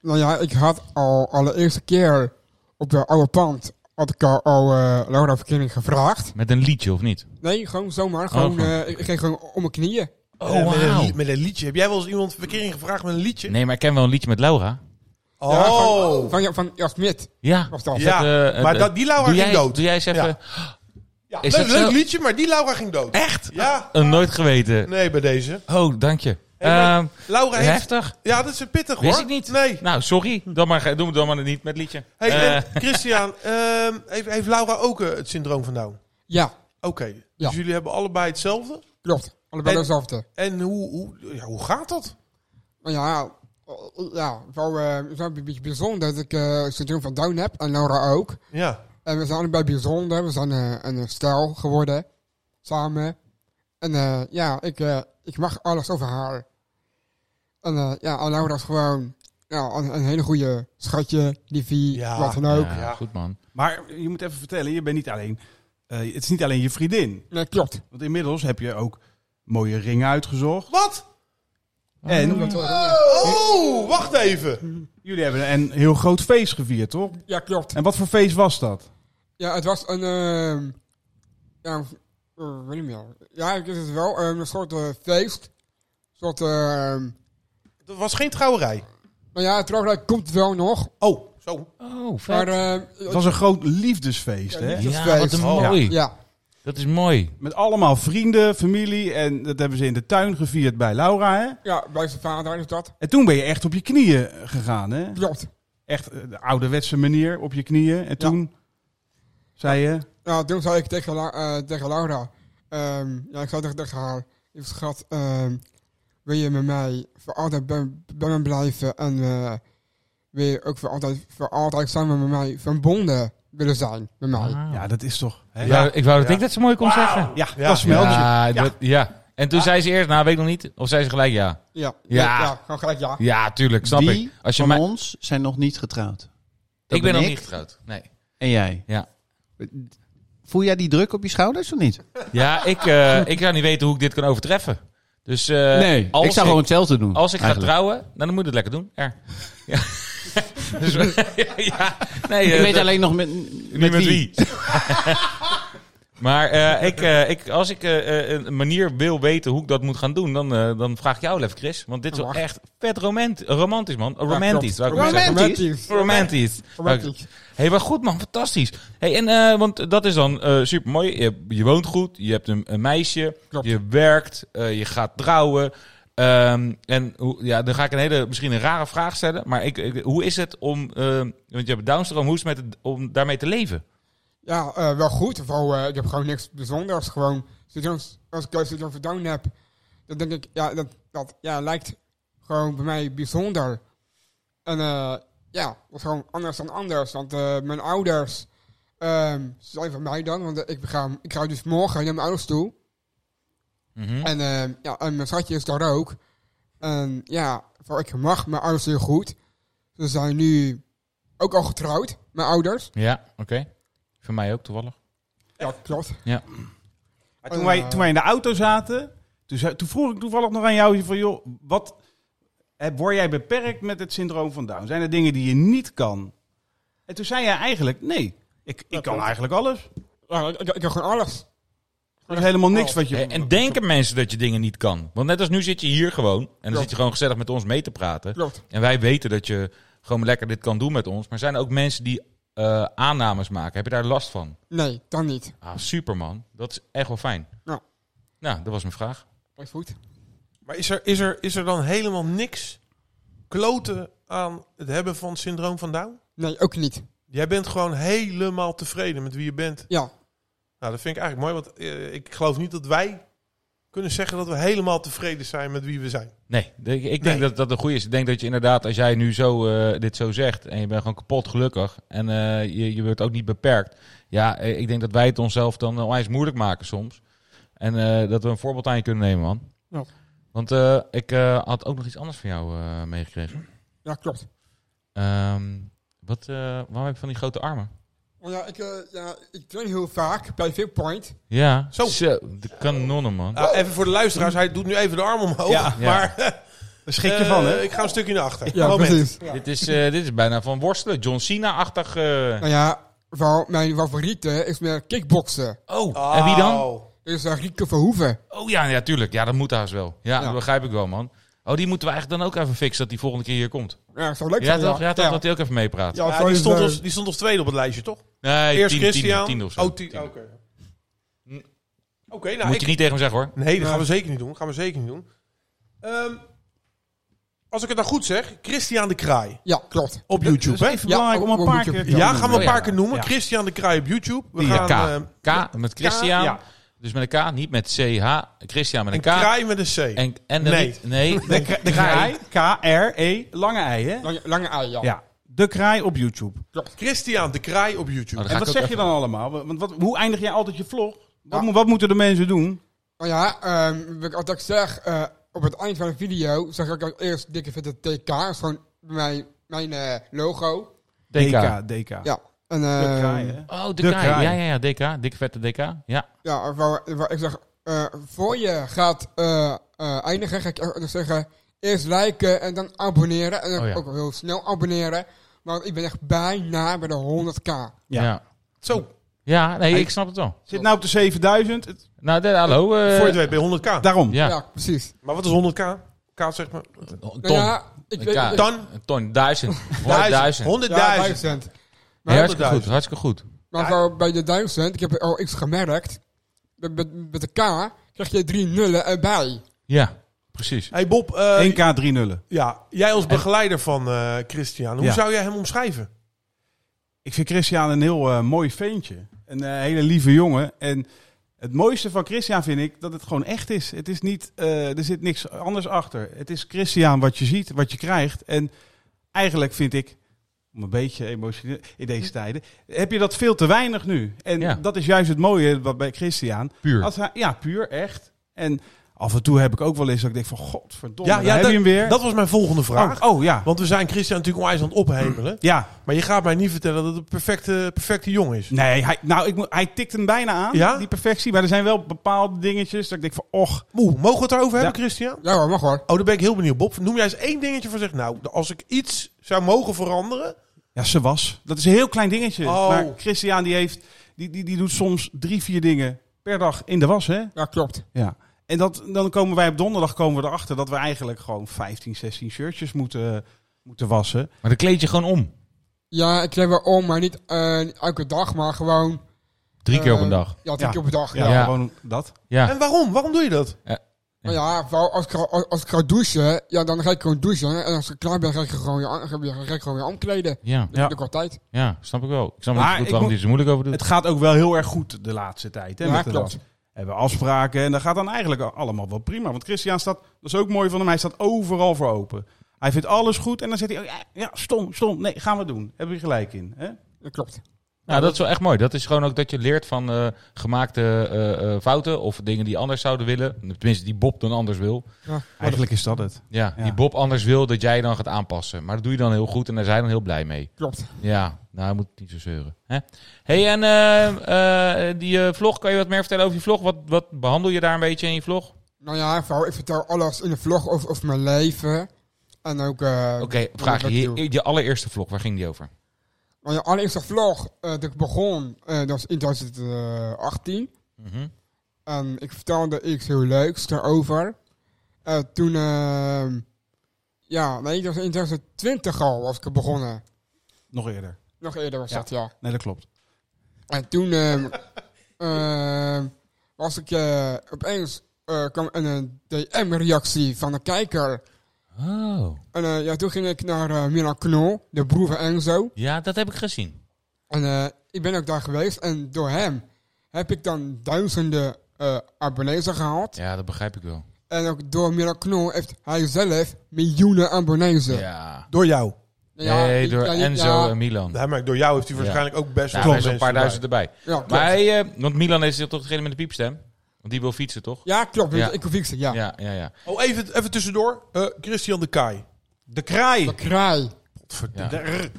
Nou ja, ik had al allereerste keer op de oude pand... had ik al, al eh, Laura verkering gevraagd.
Met een liedje of niet?
Nee, gewoon zomaar.
Oh,
Gewoon,
gewoon.
eh, ik ik ging gewoon om mijn knieën.
En Eh, met, een, li- met een liedje. Heb jij wel eens iemand verkering gevraagd met een liedje?
Nee, maar ik ken wel een liedje met Laura.
Oh.
Ja, van, van, van Jasmit
Ja. Eh,
was dat.
Ja, maar dat- die Laura
doe
ging
jij,
dood.
Doe jij eens even...
Ja,
Is
leuk,
dat
leuk
zo?
liedje, maar die Laura ging dood.
Echt?
Ja.
Een nooit geweten.
Nee, bij deze.
Oh, dank je.
Hey, maar-
Ehm,
Laura heeft...
heftig.
Ja, dat is pittig hoor.
Wist ik niet.
Nee.
Nou, sorry. Dan maar, ge- doen we dan maar niet met liedje.
Hey,
Eh,
en Christian, ehm, heeft, heeft Laura ook eh, het syndroom van Down?
Ja,
Oké,
Ja.
dus jullie hebben allebei hetzelfde.
klopt. Allebei
En-
dezelfde.
En hoe, hoe, ja, hoe gaat dat?
Nou ja, eh, ja wel, eh, het is wel een beetje bijzonder dat ik eh syndroom van Down heb en Laura ook.
Ja.
En we zijn allebei bijzonder. We zijn eh, een stijl geworden. Samen. En eh, ja, ik, eh, ik mag alles over haar. En eh, ja, en Laura is gewoon ja, een, een hele goede schatje, liefie,
Ja.
wat dan ook.
ja,
ja.
Goed, man.
Maar je moet even vertellen, je bent niet alleen... eh, het is niet alleen je vriendin.
Nee, klopt.
Want inmiddels heb je ook mooie ringen uitgezocht.
Wat?
En
Oh, wacht even.
jullie hebben een heel groot feest gevierd, toch?
Ja, klopt.
En wat voor feest was dat?
Ja, het was een. ehm ja, een- eh, weet niet meer. Ja, ik weet het wel. ehm, een soort eh, feest. Een soort. ehm
Dat was geen trouwerij.
nou ja, het trouwrijk komt wel nog.
Oh, zo.
Oh, vet.
Maar. ehm,
Het was een groot liefdesfeest,
Ja,
hè?
liefdes-
ja, wat een
Ja.
mooi.
ja,
Dat is mooi.
Met allemaal vrienden, familie. En dat hebben ze in de tuin gevierd bij Laura, hè?
ja, bij zijn vader is dat.
En toen ben je echt op je knieën gegaan, hè?
Klopt.
Echt eh, de ouderwetse manier op je knieën. En toen zei je...
Ja, toen zei ik tegen, La- eh, tegen Laura. ehm, ja, ik zei tegen, tegen haar. Lieve schat, ehm, wil je met mij voor altijd bij, bij me blijven? En eh, wil je ook voor altijd, voor altijd samen met mij verbonden willen zijn? Met mij.
Ja, dat is toch... Hè?
Ik wou, ik wou dat ik dat zo mooi kon zeggen.
Ja, dat smelt je.
Ja, dat- ja. En toen zei ze eerst, nou weet ik nog niet. Of zei ze gelijk ja.
Ja,
Ja.
ja. gewoon gelijk ja.
Ja, tuurlijk, snap
Die
ik. Als je
van
mij,
ons zijn nog niet getrouwd. Dat
ik ben nog
ik.
niet getrouwd. Nee.
En jij?
Ja.
Voel jij die druk op je schouders of niet?
Ja, ik, eh, ik zou niet weten hoe ik dit kan overtreffen. Dus eh, als
ik zou gewoon hetzelfde doen.
Als ik ga
eigenlijk.
trouwen, dan moet ik het lekker doen. Er. Ja. dus, ja, nee, eh,
Ik weet
dat-
alleen nog met,
niet met wie. maar eh, ik, eh, ik, als ik eh, eh, een manier wil weten hoe ik dat moet gaan doen, dan, eh, dan vraag ik jou wel even, Chris. Want dit is wel
Mag.
echt vet romant romantisch, man. Romantisch,
Oh, klopt.
zou ik maar zeggen.
Romantisch.
Romantisch.
Romantisch.
Hé, hey, maar goed man, fantastisch. Hey, en, eh, want dat is dan eh super mooi. Je, je woont goed, je hebt een, een meisje,
Klopt.
je werkt, eh, je gaat trouwen. Eh, Ehm, en hoe- ja, dan ga ik een hele, misschien een rare vraag stellen. Maar ik, ik- hoe is het om, ehm, want je hebt Downstroom, hoe is het met het- om daarmee te leven?
Ja, eh, wel goed. Vooral, eh, ik heb gewoon niks bijzonders. Gewoon, als, als ik Coast of Down heb, dan denk ik, ja, dat, dat ja, lijkt gewoon bij mij bijzonder. En eh, ja, dat is gewoon anders dan anders. Want eh, mijn ouders ehm, zijn van mij dan, want eh, ik, ga, ik ga dus morgen naar mijn ouders toe. En, ehm, ja, en mijn schatje is daar ook. En ja, voor ik mag mijn ouders heel goed. Ze zijn nu ook al getrouwd, mijn ouders.
Ja, oké. Voor mij ook toevallig.
Ja, klopt.
Maar toen, wij, toen wij in de auto zaten, toen, zei- toen vroeg ik toevallig nog aan jou van joh, wat hè, word jij beperkt met het syndroom van Down? Zijn er dingen die je niet kan? En toen zei jij eigenlijk, nee, ik, ik kan eigenlijk alles.
Ja, ik, ik, ik heb gewoon alles.
Er is helemaal niks wat je.
Eh, En denken mensen dat je dingen niet kan? Want net als nu zit je hier gewoon. En dan
Ja.
zit je gewoon gezellig met ons mee te praten.
Klopt.
En wij weten dat je gewoon lekker dit kan doen met ons. Maar zijn er ook mensen die eh, aannames maken? Heb je daar last van?
Nee, dan niet.
Ah, superman. Dat is echt wel fijn.
Ja.
Nou, dat was mijn vraag.
Dat is goed.
Maar is er, is, er, is er dan helemaal niks kloten aan het hebben van het syndroom van Down?
Nee, ook niet.
Jij bent gewoon helemaal tevreden met wie je bent.
Ja,
Nou, dat vind ik eigenlijk mooi, want eh, ik geloof niet dat wij kunnen zeggen dat we helemaal tevreden zijn met wie we zijn.
Nee, de- ik, ik denk
Nee.
dat dat een goede is. Ik denk dat je inderdaad, als jij nu zo, eh, dit zo zegt en je bent gewoon kapot gelukkig en eh, je, je wordt ook niet beperkt. Ja, eh, ik denk dat wij het onszelf dan onwijs moeilijk maken soms. En eh, dat we een voorbeeld aan je kunnen nemen, man.
Ja.
Want eh, ik eh, had ook nog iets anders van jou eh, meegekregen.
ja klopt.
Ehm, wat, eh, waarom heb je van die grote armen?
Maar ja, ik, eh, ja, ik train heel vaak bij Fitpoint.
Ja,
Zo.
de kanonnen, man.
Nou, even voor de luisteraars, hij doet nu even de arm omhoog.
Ja.
maar
Daar schrik je van, hè?
eh, ik ga een stukje naar achter.
Ja,
Moment.
precies.
Dit, is, eh, dit is bijna van worstelen. John Cena-achtig. eh.
Nou ja, wel, mijn favoriete is meer kickboksen.
Oh, en wie dan?
Ah,
Dus eh, Rieke Verhoeven.
Oh ja, ja, tuurlijk. Ja, dat moet haast wel. Ja,
Ja.
dat begrijp ik wel, man. Oh, die moeten we eigenlijk dan ook even fixen dat die volgende keer hier komt.
Ja, dat zou leuk
Ja,
zijn.
toch? Ja, toch?
Ja.
Dat hij ook even meepraat.
Ja, eh,
Ja,
zou
die,
je
stond
wel-
als, die stond als tweede op het lijstje, toch?
Nee,
Eerst
tien,
Christian.
Tien, tien of zo.
Oh, tien,
Tien.
Oké, Oké, nou,
Moet
ik,
je niet tegen hem zeggen, hoor.
Nee, dat gaan we zeker niet doen. Gaan we zeker niet doen. Ehm, als ik het nou goed zeg, Christian de Kraai
ja, klopt.
op YouTube. Hè?
Even
Ja,
belangrijk om een
op-
paar
op
keer.
YouTube.
te
Ja, gaan we
Oh,
een
ja.
paar keer noemen.
Ja.
Christian de Kraai op YouTube. We
Ja,
gaan
K.
eh,
K met Christian.
ja.
Dus met een K, niet met CH. Christian met een K.
een Kraai met een C.
En, en de
Nee.
Riet- nee.
De, kra- de kraai, K-R-E, lange ei, hè?
Lange, lange ei, ja.
Ja, de kraai op YouTube.
Christian de Kraai op
Oh,
YouTube.
dat- Ga
En
ik
wat
ook
zeg je
even-
dan allemaal? Want wat, hoe eindig jij altijd je vlog?
Ja.
Wat, mo- wat moeten de mensen doen?
Nou ja, ehm, wat ik altijd zeg, eh, op het eind van de video zeg ik als eerst dikke vette TK. Dat is gewoon mijn, mijn eh, logo.
DK.
DK. DK.
Ja. En,
De
ehm,
kraai, hè?
Oh, de,
De
K.
Kraai.
Ja, ja, ja, DK. Dikke vette DK. Ja.
Ja, waar, waar ik zeg, eh, voor je gaat eh, eh, eindigen, ga ik echt zeggen, eerst liken en dan abonneren. En dan
Oh ja.
ook heel snel abonneren. Want ik ben echt bijna bij de 100k.
Ja.
Ja.
Ja, Eh,
Zo,
nee, ik snap het wel.
Zit nou op de 7000. Het-
Nou, de- hallo. eh,
voor je het weet ben je 100k.
daarom.
ja.
Ja, precies.
Maar wat is 100k? K zeg maar.
Ton.
Nou ja, ik
Een
weet
K.
ik-
Dan
Een Ton. Duizend.
duizend. 100.000.
Duizend.
Ja, 1000.
Nee, hartstikke goed.
Honderdduizend.
Hartstikke goed.
Maar voor bij de 1000, ik heb al iets gemerkt. Met, met, met de K krijg je drie nullen erbij.
Ja, precies.
Hey Bob, eh,
1K 3 nullen.
ja, jij als begeleider van eh, Christian, hoe
Ja.
zou jij hem omschrijven?
Ik vind Christian een heel eh, mooi ventje. Een eh, hele lieve jongen. En het mooiste van Christian vind ik dat het gewoon echt is. Het is niet, eh, er zit niks anders achter. Het is Christian wat je ziet, wat je krijgt. En eigenlijk vind ik, om een beetje emotioneel in deze tijden, heb je dat veel te weinig nu. En
Ja.
dat is juist het mooie wat bij Christian.
Puur.
Als hij, ja, puur, echt. En af en toe heb ik ook wel eens dat ik denk van, godverdomme,
Ja,
ja,
ja,
heb
dat-
je hem weer.
Dat was mijn volgende vraag.
oh, oh, ja.
Want we zijn Christian natuurlijk onwijs aan het ophemelen.
Ja,
Maar je gaat mij niet vertellen dat het een perfecte, perfecte jongen is.
Nee, hij, nou, ik, moet- hij tikt hem bijna aan,
Ja?
die perfectie. Maar er zijn wel bepaalde dingetjes dat ik denk van, och.
Moe, mogen we het daarover
Ja.
hebben, Christian?
Ja hoor, mag hoor.
Oh, daar ben ik heel benieuwd. Bob, noem jij eens één dingetje van zegt. Nou, als ik iets zou mogen veranderen.
Ja, ze was. Dat is een heel klein dingetje.
Oh.
Maar Christian die heeft, die, die, die doet soms drie, vier dingen per dag in de was, hè?
Ja, klopt.
Ja. En dat, dan komen wij op donderdag komen we erachter dat we eigenlijk gewoon 15, 16 shirtjes moeten, moeten wassen.
Maar dan kleed je gewoon om.
Ja, ik heb wel om, maar niet eh, elke dag, maar gewoon...
Drie keer op
eh,
een dag.
Ja, drie
Ja.
keer op een dag.
Ja,
Ja.
gewoon dat.
Ja.
En waarom? Waarom doe je dat?
Maar Nou ja, wel, als ik, ga- als, als ik ga douchen, ja, dan ga ik gewoon douchen. En als ik klaar ben, ga ik gewoon weer, aan- ga ik- ga ik gewoon weer omkleden.
Ja,
Dat
Ja.
doe ik altijd.
ja, snap ik wel. Ik snap
Maar
niet goed
ik
waarom
moet-
hij er zo moeilijk over doet.
Het gaat ook wel heel erg goed de laatste tijd. Hè,
Ja,
met de
klopt.
Rams. Hebben we afspraken en dat gaat dan eigenlijk allemaal wel prima. Want Christian staat, dat is ook mooi van hem, hij staat overal voor open. Hij vindt alles goed en dan zegt hij, oh ja, ja stom, stom, nee, gaan we doen. Heb je gelijk in. Hè?
Dat klopt.
Nou, dat is wel echt mooi. Dat is gewoon ook dat je leert van eh, gemaakte eh, eh, fouten of dingen die anders zouden willen. Tenminste, die Bob dan anders wil.
Eigenlijk is dat het.
Ja,
Ja.
die Bob anders wil dat jij dan gaat aanpassen. Maar dat doe je dan heel goed en daar zijn we dan heel blij mee.
Klopt.
Ja, nou, hij moet niet zo zeuren. Hè? hey, en eh, eh, die eh, vlog, kan je wat meer vertellen over je vlog? Wat, wat behandel je daar een beetje in je vlog?
Nou ja, vrouw, ik vertel alles in de vlog over, over mijn leven. En ook... eh,
Oké,
wat
vraag
ik
je,
doe.
je, je allereerste vlog, waar ging die over?
Nou ja, allereerste vlog eh, dat ik begon, eh, dat was in 2018.
Mhm.
En ik vertelde iets heel leuks daarover. Eh, toen, eh, ja, nee, dat was in 2020 al was ik er begonnen.
Nog eerder.
Nog eerder was
Ja.
dat, ja.
Nee, dat klopt.
En toen ehm, ehm, was ik eh, opeens eh, kwam een, eh, DM-reactie van een kijker.
Oh,
En eh, ja, toen ging ik naar eh Milan Knol, de broer van Enzo.
ja, dat heb ik gezien.
En eh, ik ben ook daar geweest en door hem heb ik dan duizenden eh abonnees gehaald.
Ja, dat begrijp ik wel.
En ook door Milan Knol heeft hij zelf miljoenen abonnees.
Ja.
Door jou.
Nee,
ik-
door
ja, ik-
Enzo
ja,
en Milan.
Ja, maar door jou heeft hij
Ja.
waarschijnlijk ook best
Ja,
wel
er is een paar
mensen
duizend erbij.
Ja, klopt.
Maar hij, eh, want Milan is toch degene met de piepstem? Want die wil fietsen, toch?
ja, klopt.
Ja.
Ik hoef ik ze, ja.
ja, ja. ja.
erbij. Oh, even, even tussendoor. Eh, Christian de Kai.
De kraai.
De kraai.
Ja.
De r-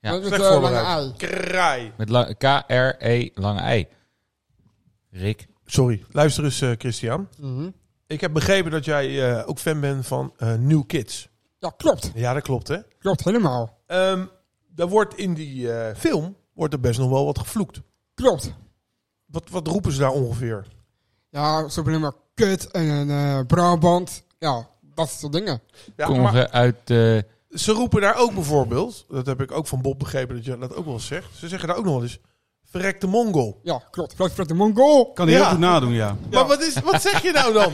Ja,
dat is
slecht
eh, lange
voorbereid.
ei.
Kraai.
Met la- K-R-E lange I. Rick.
Sorry, luister eens eh, Christian.
Mhm.
Ik heb begrepen dat jij eh, ook fan bent van eh, New Kids.
Ja, klopt.
Ja, dat klopt hè.
Klopt helemaal.
Ehm, daar wordt in die eh, film wordt er best nog wel wat gevloekt.
Klopt.
Wat, wat roepen ze daar ongeveer?
Ja, zo ben ik maar kut en een eh, Brabant. Ja, dat soort dingen.
Ja,
Kom
maar
even uit... eh,
ze roepen daar ook bijvoorbeeld, dat heb ik ook van Bob begrepen dat je dat ook wel eens zegt. Ze zeggen daar ook nog wel eens, verrekte mongol.
Ja, klopt. Vlak voor de Mongool.
Kan hij
Ja.
heel goed nadoen, ja.
Maar wat, is, wat zeg je nou dan?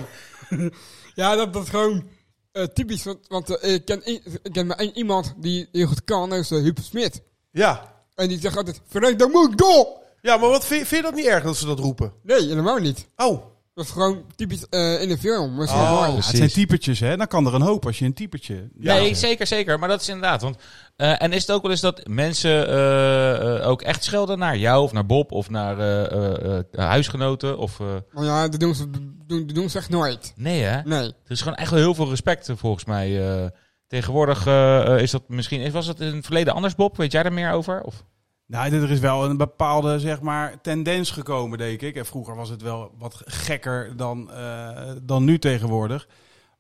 Ja, dat, dat is gewoon eh, typisch. Want, want eh, ik, ken, i- ik ken maar één iemand die heel goed kan. Dat is eh, Huub Smit.
Ja.
En die zegt altijd, verrek de Mongool!
ja, maar wat vind, vind je dat niet erg dat ze dat roepen?
Nee, helemaal niet.
Oh,
Dat is gewoon typisch eh, in de film. Dat is heel
Oh,
mooi.
Ja, het zijn typetjes, hè. Dan kan er een hoop als je een typetje...
Nee, zeker, zeker. Maar dat is inderdaad. Want, eh, en is het ook wel eens dat mensen eh, eh, ook echt schelden naar jou of naar Bob of naar eh, eh, eh, huisgenoten? Of, eh,
Maar ja, dat doen ze, doen, dat doen ze echt nooit.
nee, hè? Er
Nee.
is gewoon echt wel heel veel respect eh, volgens mij. eh. tegenwoordig eh, eh, is dat misschien... Was dat in het verleden anders, Bob? Weet jij daar meer over? Of?
Nou, er is wel een bepaalde zeg maar, tendens gekomen, denk ik. En vroeger was het wel wat gekker dan, eh, dan nu tegenwoordig.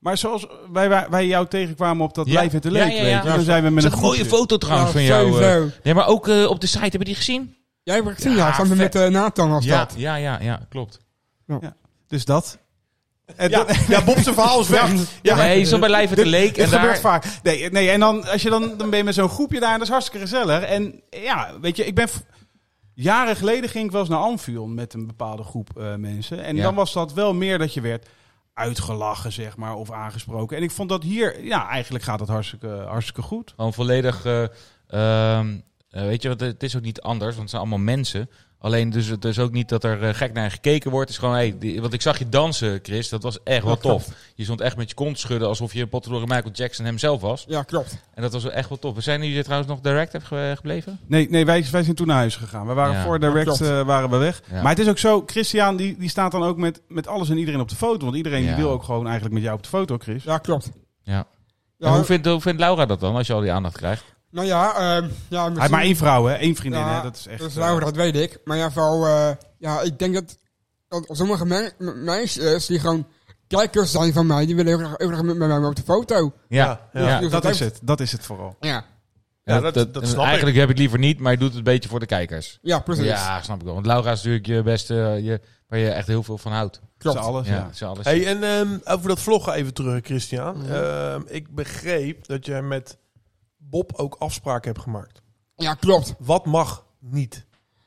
Maar zoals wij, wij, wij jou tegenkwamen op dat
Ja.
Lijf het de
Ja,
Leek,
ja, ja.
weet je, dan zijn we met
Dat
een
is een mooie
groepje.
foto trouwens
Ja,
van jou. eh.
sowieso.
Nee, maar ook eh, op de site. Hebben die gezien?
Jij hebt het gezien,
Ja,
ja. Samen
vet.
met eh, Nathan was
ja,
dat.
ja, ja, ja, klopt.
Dus dat. En
ja,
dat-
ja Bob zijn verhaal is weg. Ja, maar-
nee, je zat bij Lijf het de
Dit-
Leek.
dit
En
gebeurt
daar...
vaak. Nee, nee en dan, als je dan, dan ben je met zo'n groepje daar, en dat is hartstikke gezellig. En ja, weet je, ik ben... v- Jaren geleden ging ik wel eens naar Amfion met een bepaalde groep eh, mensen. En
Ja.
dan was dat wel meer dat je werd uitgelachen, zeg maar, of aangesproken. En ik vond dat hier, ja, eigenlijk gaat dat hartstikke, hartstikke goed.
Gewoon volledig. eh, ehm, eh, weet je, wat, het is ook niet anders, want het zijn allemaal mensen. Alleen, dus het is ook niet dat er eh, gek naar gekeken wordt. Het is gewoon, hey, die- want ik zag je dansen, Chris. Dat was echt wel tof. Je stond echt met je kont te schudden alsof je potverdorie Michael Jackson hemzelf was.
Ja, klopt.
En dat was wel echt wel tof. We zijn jullie trouwens nog direct ge- gebleven?
Nee, nee wij, wij zijn toen naar huis gegaan. We waren
Ja.
voor direct
Klopt.
eh, waren we weg.
Ja.
Maar het is ook zo, Christian die, die staat dan ook met, met alles en iedereen op de foto. Want iedereen
Ja.
die wil ook gewoon eigenlijk met jou op de foto, Chris.
Ja, klopt.
Ja.
Ja,
En hoe, vindt, hoe vindt Laura dat dan, als je al die aandacht krijgt?
nou ja, ehm ja
Hij heeft Ah, maar
misschien-
één vrouw, hè? één vriendin,
Ja,
hè? Dat is echt...
Dat is
eh,
Laura, dat weet ik. Maar ja, vooral, eh, ja, ik denk dat, dat sommige me- me- meisjes die gewoon kijkers zijn van mij, die willen heel graag, heel graag met met mij op de foto.
Ja,
Ja,
ja.
Dus
dat
dat
is
heeft-
het. Dat is het vooral.
Ja,
Ja, dat- dat snap ik.
Eigenlijk heb ik het liever niet, maar je doet het een beetje voor de kijkers.
ja precies.
Ja, snap ik wel. Want Laura is natuurlijk je beste, eh, je, waar je echt heel veel van houdt.
Dat
klopt.
is alles,
ja,
ja.
ze alles.
Hey, en ehm, over dat vloggen even terug, Christian. Ehm, ik begreep dat jij met Bob ook afspraken hebt gemaakt.
Ja, klopt.
Wat mag niet?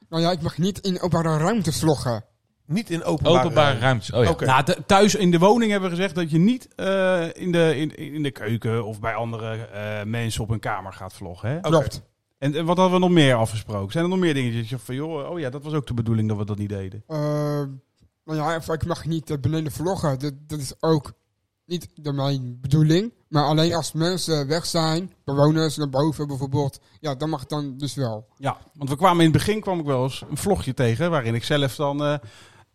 Nou ja, ik mag niet in openbare ruimtes vloggen.
Niet in openbare,
Openbare
ruimte.
ruimtes. Oh ja.
Oké.
Nou, th- thuis in de woning hebben we gezegd dat je niet eh, in, de, in, in de keuken of bij andere eh, mensen op hun kamer gaat vloggen. Hè?
Klopt.
En, en wat hadden we nog meer afgesproken? Zijn er nog meer dingetjes dat je van, joh, oh ja, dat was ook de bedoeling dat we dat niet deden?
Eh, nou ja, even, ik mag niet eh, beneden vloggen. Dat, dat is ook niet de mijn bedoeling. Maar alleen als mensen weg zijn, bewoners naar boven bijvoorbeeld, ja, dan mag het dan dus wel.
Ja, want we kwamen in het begin kwam ik wel eens een vlogje tegen waarin ik zelf dan eh,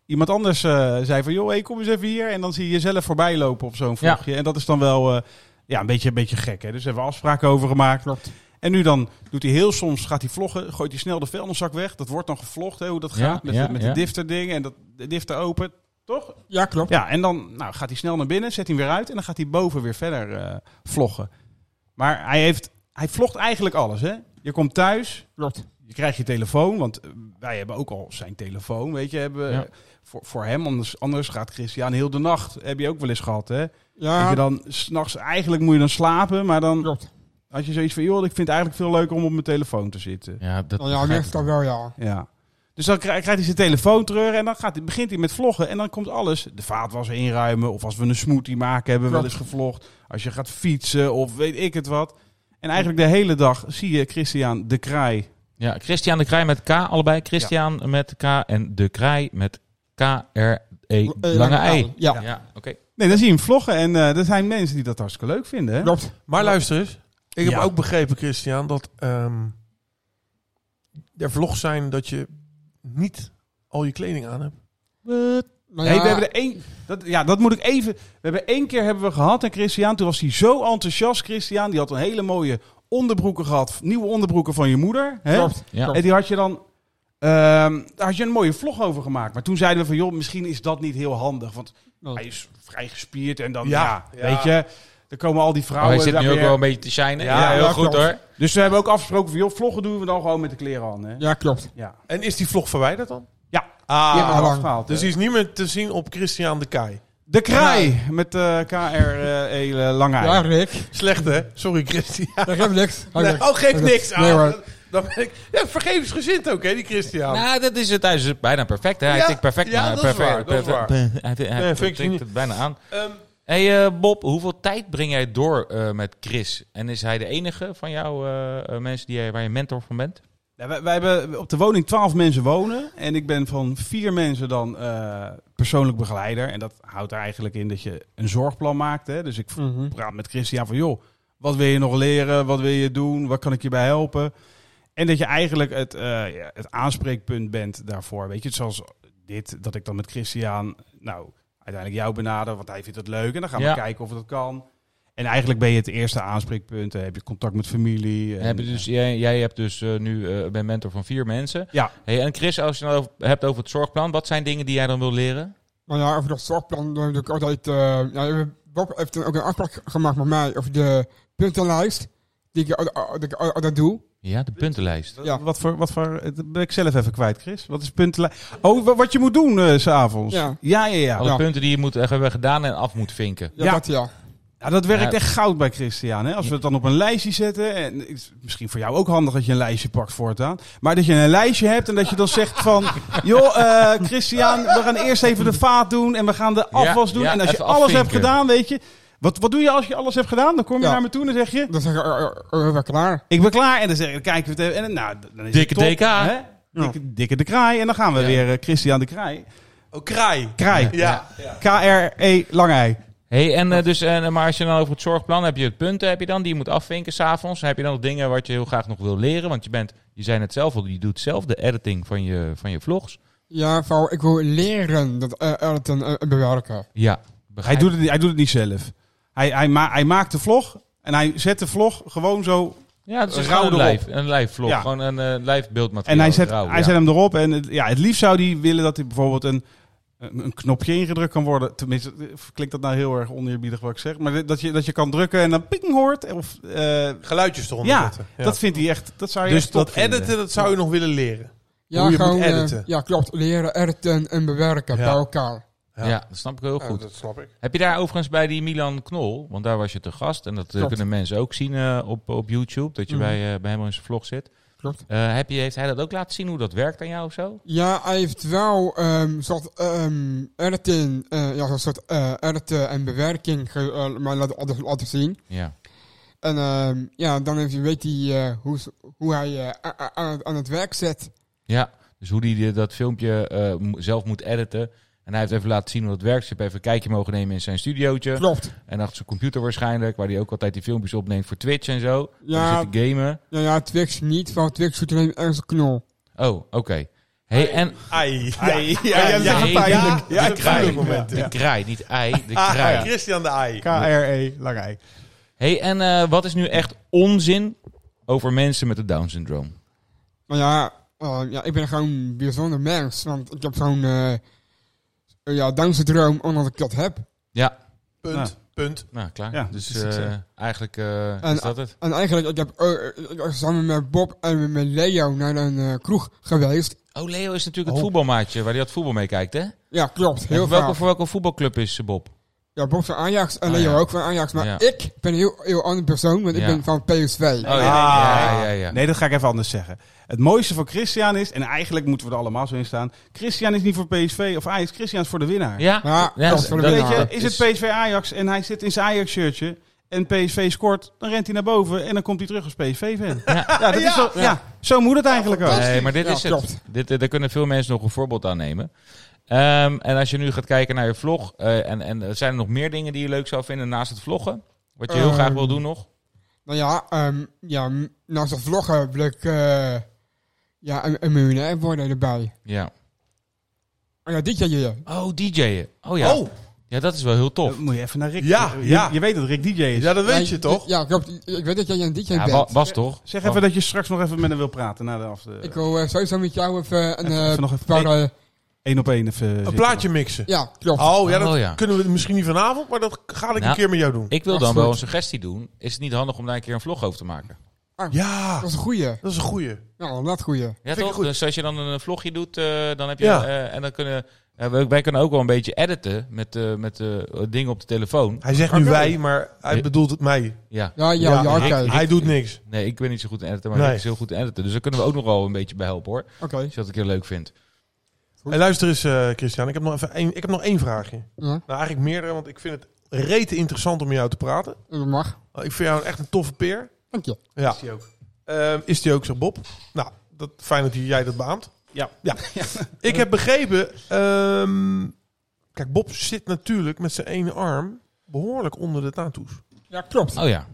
iemand anders eh, zei van, joh, hey, kom eens even hier. En dan zie je jezelf voorbij lopen op zo'n
Ja.
vlogje. En dat is dan wel eh, ja, een, beetje, een beetje gek. Hè? Dus daar hebben we afspraken over gemaakt.
Klopt.
En nu dan doet hij heel soms, gaat hij vloggen, gooit hij snel de vuilniszak weg. Dat wordt dan gevlogd, hè, hoe dat
Ja,
gaat met,
ja,
de, met
ja.
de difter ding en dat, de difter open. Toch?
Ja, klopt.
Ja, en dan nou, gaat hij snel naar binnen, zet hij hem weer uit en dan gaat hij boven weer verder eh, vloggen. Maar hij, heeft, hij vlogt eigenlijk alles, hè? Je komt thuis,
Klopt.
je krijgt je telefoon, want eh, wij hebben ook al zijn telefoon, weet je. Hebben, we-
Ja.
voor, voor hem, anders, anders gaat Christian heel de nacht, heb je ook wel eens gehad, hè? Dat
Ja,
je dan s'nachts, eigenlijk moet je dan slapen, maar dan...
klopt.
Had je zoiets van, joh, ik vind het eigenlijk veel leuker om op mijn telefoon te zitten.
Ja, dat
Nou ja,
begrijp ik.
meestal wel, ja.
Ja. Dus dan krij- krijgt hij zijn telefoon terug en dan gaat, hij- begint hij met vloggen. En dan komt alles. De vaatwasser inruimen of als we een smoothie maken hebben we wel eens gevlogd. Als je gaat fietsen of weet ik het wat. En eigenlijk de hele dag zie je Christian de Kraai.
Ja, Christian de Krij met K allebei. Christian met K en de Krij met K-R-E
Eh,
lange ei.
Eh, Ja,
Ja, oké.
Nee, dan zie je hem vloggen en eh, er zijn mensen die dat hartstikke leuk vinden. Hè?
klopt.
Maar luister eens. Ik heb
Ja.
ook begrepen, Christian, dat ehm er vlogs zijn dat je niet al je kleding aan hebt.
Nou
Nee,
ja,
we hebben er één. Dat, ja, dat moet ik even. We hebben één keer hebben we gehad en Christian. Toen was hij zo enthousiast. Christian, die had een hele mooie onderbroeken gehad. Nieuwe onderbroeken van je moeder. Hè?
Klopt.
Ja. Oh,
En die had je dan. ehm, daar had je een mooie vlog over gemaakt. Maar toen zeiden we van joh, misschien is dat niet heel handig. Want hij is vrij gespierd en dan. Ja,
Ja,
weet je. Er komen al die
Oh,
vrouwen.
hij zit
daar
nu ook
weer.
wel een beetje te shinen. Ja,
Ja,
heel
ja,
goed
klopt.
hoor.
Dus we hebben ook afgesproken van joh, vloggen doen we dan gewoon met de kleren aan. Hè?
Ja, klopt.
Ja.
En is die vlog verwijderd dan?
Ja.
Ah,
Die hebben we
lang.
afgehaald, hè.
dus die is niet meer te zien op Christian de Kai.
de kraai met eh KRE eh, lange ei.
Ja, Rick.
Slecht hè? Sorry Christian.
Dat geeft niks.
Nee, oh, geeft niks
Nee,
aan.
hoor.
Dan- Dan ben ik ja, vergevensgezind ook hè, die Christian.
Nou, dat is het. Hij is bijna perfect. Hè? Hij
Ja,
tikt perfect.
ja,
aan.
dat is
perfect,
waar, dat is
perfect- Hij, hij
Nee, vind ik
tikt
niet.
het bijna aan.
Ehm,
hey, eh, Bob, hoeveel tijd breng jij door eh, met Chris? En is hij de enige van jouw eh, eh, mensen die jij, waar je mentor van bent?
Ja, wij, wij hebben op de woning twaalf mensen wonen. En ik ben van vier mensen dan eh, persoonlijk begeleider. En dat houdt er eigenlijk in dat je een zorgplan maakt. Hè? Dus ik
Mhm.
praat met Christian van, joh, wat wil je nog leren? Wat wil je doen? Wat kan ik je bij helpen? En dat je eigenlijk het, eh, ja, het aanspreekpunt bent daarvoor. Weet je, zoals dit, dat ik dan met Christian, nou, uiteindelijk jou benader, want hij vindt het leuk. En dan gaan
Ja.
we kijken of dat kan. En eigenlijk ben je het eerste aanspreekpunt. Dan heb je contact met familie. En,
Heb je dus, jij, jij hebt dus eh, nu eh ben mentor van vier mensen.
Ja.
Hey, en Chris, als je het nou over- hebt over het zorgplan, wat zijn dingen die jij dan wil leren?
Nou ja, over dat zorgplan doe ik altijd... eh, ja, Bob heeft toen ook een afspraak gemaakt met mij over de puntenlijst. Die ik al- al- dat ik al- altijd doe.
Ja, de puntenlijst.
Ja.
Wat voor, wat voor, het ben ik zelf even kwijt, Chris. Wat is puntlijn? Oh, wa- wat je moet doen eh, s s'avonds.
Ja.
ja, ja. ja.
Alle
Ja.
punten die je moet hebben gedaan en af moet vinken.
Ja,
Ja.
dat ja.
Ja, dat werkt
Ja.
echt goud bij Christian. Hè? Als we het dan op een lijstje zetten. En het is misschien voor jou ook handig dat je een lijstje pakt voortaan. Maar dat je een lijstje hebt en dat je dan zegt van... joh, eh, Christian, we gaan eerst even de vaat doen en we gaan de afwas doen.
ja,
en als je
even
alles
afvinken.
hebt gedaan, weet je... Wat, wat doe je als je alles hebt gedaan? Dan kom je
Ja.
naar me toe en dan zeg je...
Dan zeg ik, eh, eh, eh, we klaar.
Ik ben klaar. En dan zeg ik, dan kijken we het even. En dan- nou, dan is
Dikke
het top,
DK.
hè? Dikke, dikke de kraai. En dan gaan we
Ja.
weer eh, Christian de kraai.
oh, kraai.
Kraai.
Ja.
K-R-E lange ei.
Hey, en, eh, dus, en, eh, maar als je dan over het zorgplan heb je het punten heb je dan, die je moet afvinken s'avonds. Heb je dan nog dingen wat je heel graag nog wil leren? Want je bent, je zei net zelf al, je doet zelf de editing van je, van je vlogs.
Ja, vrouw, ik wil leren dat eh editen en en bewerken.
Ja,
Hij
begrijp
doet, het, niet- hij doet het niet zelf. Hij, hij, ma hij maakt de vlog en hij zet de vlog gewoon zo.
Ja, het is
Rauw
gewoon een
erop.
live, een live vlog.
Ja.
Gewoon een eh, live
En
beeldmateriaal.
hij zet,
rauw,
hij
ja.
zet hem erop. En het, ja, het liefst zou hij willen dat hij bijvoorbeeld een, een een knopje ingedrukt kan worden. Tenminste, eh, klinkt dat nou heel erg oneerbiedig wat ik zeg. Maar dat je, dat je kan drukken en dan ping hoort. Of, eh,
Geluidjes eronder
ja,
zetten.
dat vindt hij echt. Dat zou je
Dus
echt top
dat
vinden.
editen, dat zou je nog willen leren.
Ja,
Hoe je
gewoon,
moet
eh,
editen.
ja, klopt. Leren editen en bewerken
Ja.
bij elkaar.
ja. dat snap ik heel goed.
dat snap ik.
Heb je daar overigens bij die Milan Knol, want daar was je te gast. En dat eh,
Klopt.
kunnen mensen ook zien eh, op, op YouTube, dat je bij, eh, bij hem in zijn vlog zit.
klopt.
Eh, heb je, heeft hij dat ook laten zien hoe dat werkt aan jou of zo?
Ja, hij heeft wel ehm soort ehm editing, eh, ja, zo'n soort eh editen en bewerking, ge- eh, maar laten, laten, laten zien.
Ja.
En ehm ja, dan heeft, weet hij eh, hoe, ze- hoe hij eh, a- a- aan, het- aan het werk zet.
Ja, dus hoe hij dat filmpje eh, mo- zelf moet editen. En hij heeft even laten zien hoe dat werkt. Ze hebben even een kijkje mogen nemen in zijn studiootje.
Klopt.
En achter zijn computer waarschijnlijk, waar hij ook altijd die filmpjes opneemt voor Twitch en zo. Ja.
Ja.
Zit te gamen.
Ja, ja, Twix niet, want Twix doet alleen ergens een knol.
Oh, oké. Hey, en
Ai. Ai. Ja,
ja, ja,
ja, ja,
ja,
ik ga
ja.
het moment.
de
Ja.
kraai, niet ei, de
Ah,
kraai.
ja.
Christian de Ai.
KRE, lang ei.
Hey, en eh, wat is nu echt onzin over mensen met het Down-syndroom?
Maar ja, ehm, ja, ik ben gewoon een bijzonder mens, want ik heb zo'n eh ja, Down-syndroom, omdat ik dat heb.
Ja,
Punt.
Nou.
Punt.
nou klaar.
Ja,
dus
dat is
eh,
het,
eigenlijk eh,
En-
is dat het.
En eigenlijk, ik heb eh, eh, samen met Bob en met Leo naar een eh, kroeg geweest.
Oh, Leo is natuurlijk het voetbalmaatje waar hij dat voetbal mee kijkt, hè?
Ja, klopt. Heel
En welke,
vaak.
voor welke voetbalclub is eh, Bob?
Ja, Bob van Ajax en
Ah,
Leo
ja.
ook van Ajax. Maar
Ja.
ik ben een heel, heel ander persoon, want
Ja.
ik ben van PSV.
Oh, ja. ja, ja, ja.
Ah. Nee, dat ga ik even anders zeggen. Het mooiste van Christian is, en eigenlijk moeten we er allemaal zo in staan. Christian is niet voor PSV of Ajax. Christian is voor de winnaar.
Ja,
Ja,
Ja,
dat is voor de Dus-
dat-
Weet
winnaar.
je,
dat
is het
is-
PSV Ajax en hij zit in zijn Ajax shirtje en PSV scoort, dan rent hij naar boven en dan komt hij terug als PSV fan. Ja, dat Is zo, ja, zo moet het eigenlijk ook.
Nee, maar dit
Ja,
is het.
klopt.
Dit, eh, daar kunnen veel mensen nog een voorbeeld aan nemen. Ehm, en als je nu gaat kijken naar je vlog, eh, en, en zijn er nog meer dingen die je leuk zou vinden naast het vloggen? Wat je heel
Ehm,
graag wil doen nog?
Nou ja, ehm, ja m- naast het vloggen wil ik eh, ja, een, een miljonair worden erbij.
Ja.
Oh ja, dit jaar je.
Oh, DJ'en. Oh ja.
Oh,
Ja, dat is wel heel tof.
Dan Eh, moet je even naar Rick.
Ja,
je,
ja.
je weet dat Rick DJ is.
ja, dat weet je
Ja,
toch?
Ja, klopt. Ik weet dat jij een DJ
Ja,
bent.
wa- was toch?
Zeg
Oh.
even dat je straks nog even met hem wil praten na de af.
Ik wil eh, sowieso met jou even een
Even- even nog
eh,
even-
paar... eh,
Eén op één even.
Een
zitten.
plaatje mixen.
ja, klopt.
Oh, ja, dat
Oh, ja.
kunnen we misschien niet vanavond, maar dat ga ik
Nou.
een keer met jou doen.
Ik wil dan
Wacht,
wel
goed.
een suggestie doen. Is het niet handig om daar een keer een vlog over te maken?
Ja,
Dat is een goeie.
dat is een goeie.
Ja, dat goeie.
Ja,
Vind ik
toch?
goed.
Dus als je dan een vlogje doet, eh, dan heb je...
Ja.
eh, en dan kunnen... eh, wij- wij kunnen ook wel een beetje editen met, eh, met eh, dingen op de telefoon.
Hij zegt nu wij, maar hij bedoelt het mij.
Ja.
Ja, ja, ja,
Ja,
oké.
Rick-
Hij doet niks.
Nee, ik ben niet zo goed in editen, maar
Nee.
Rick is heel goed in editen. Dus daar kunnen we ook nog wel een beetje bij helpen, hoor.
Oké.
Als je dat een keer leuk vindt.
Hey, luister eens, eh, Christian. Ik heb, nog even één, ik heb nog één vraagje.
Ja,
Nou, eigenlijk meerdere, want ik vind het rete interessant om met jou te praten.
dat mag.
Oh, Ik vind jou echt een toffe peer.
Dank je.
Ja. Is die ook? is die ook, zegt Bob. Nou, dat, fijn dat jij dat beaamt.
Ja.
ja. ik heb begrepen... ehm, kijk, Bob zit natuurlijk met zijn ene arm behoorlijk onder de tattoos.
Ja, klopt.
Oh ja.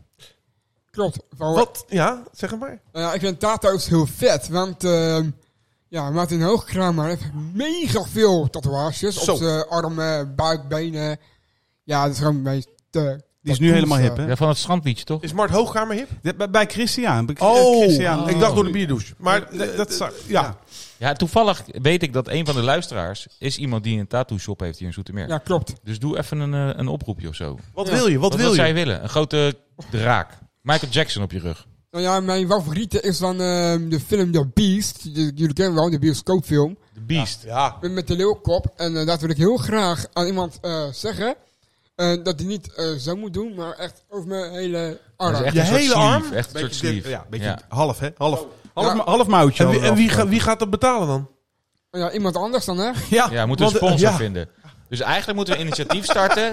Klopt. Voor-
Wat? Ja, zeg het maar.
Nou ja, ik vind tato's heel vet, want ehm ja, Martin Hoogkramer heeft mega veel tatoeages.
Zo.
Op zijn armen, buik, benen. Ja, dat is gewoon bij te...
Die is nu helemaal hip, hè?
ja van het strandliedje, toch?
Is Mart Hoogkamer hip?
Ja, bij- Bij Christian. Bij
Christian. Oh. ik dacht door de bierdouche. Maar
dat,
eh,
dat
eh,
zak.
Ja.
Ja, toevallig weet ik dat een van de luisteraars is iemand die een tattoo shop heeft hier in Zoetermeer.
Ja, klopt.
Dus doe even een, eh, een oproepje of zo.
Wat wil je? Wat,
Wat
wil
wil
je?
zij willen? Een grote draak. Michael Jackson op je rug.
Oh,
Nou ja, mijn favoriete is van ehm de film The Beast. Die- Jullie kennen wel, de bioscoopfilm.
The Beast.
Ja.
Met, met de leeuwkop. En eh, dat wil ik heel graag aan iemand eh, zeggen. eh, dat hij niet eh, zo moet doen, maar echt over mijn hele arm.
Dat is echt
Je
een soort
hele
sleeve.
arm?
Echt een soort
Beetje dip-
sleeve.
ja, beetje
Ja.
half, hè? Half, half,
Ja.
ma- half mouwtje.
En, wie, en
half-
wie, gaat, wie gaat dat betalen dan?
Ja, iemand anders dan, hè?
Ja, we moeten een
Want, eh,
sponsor
ja.
vinden. Dus eigenlijk moeten we een initiatief starten.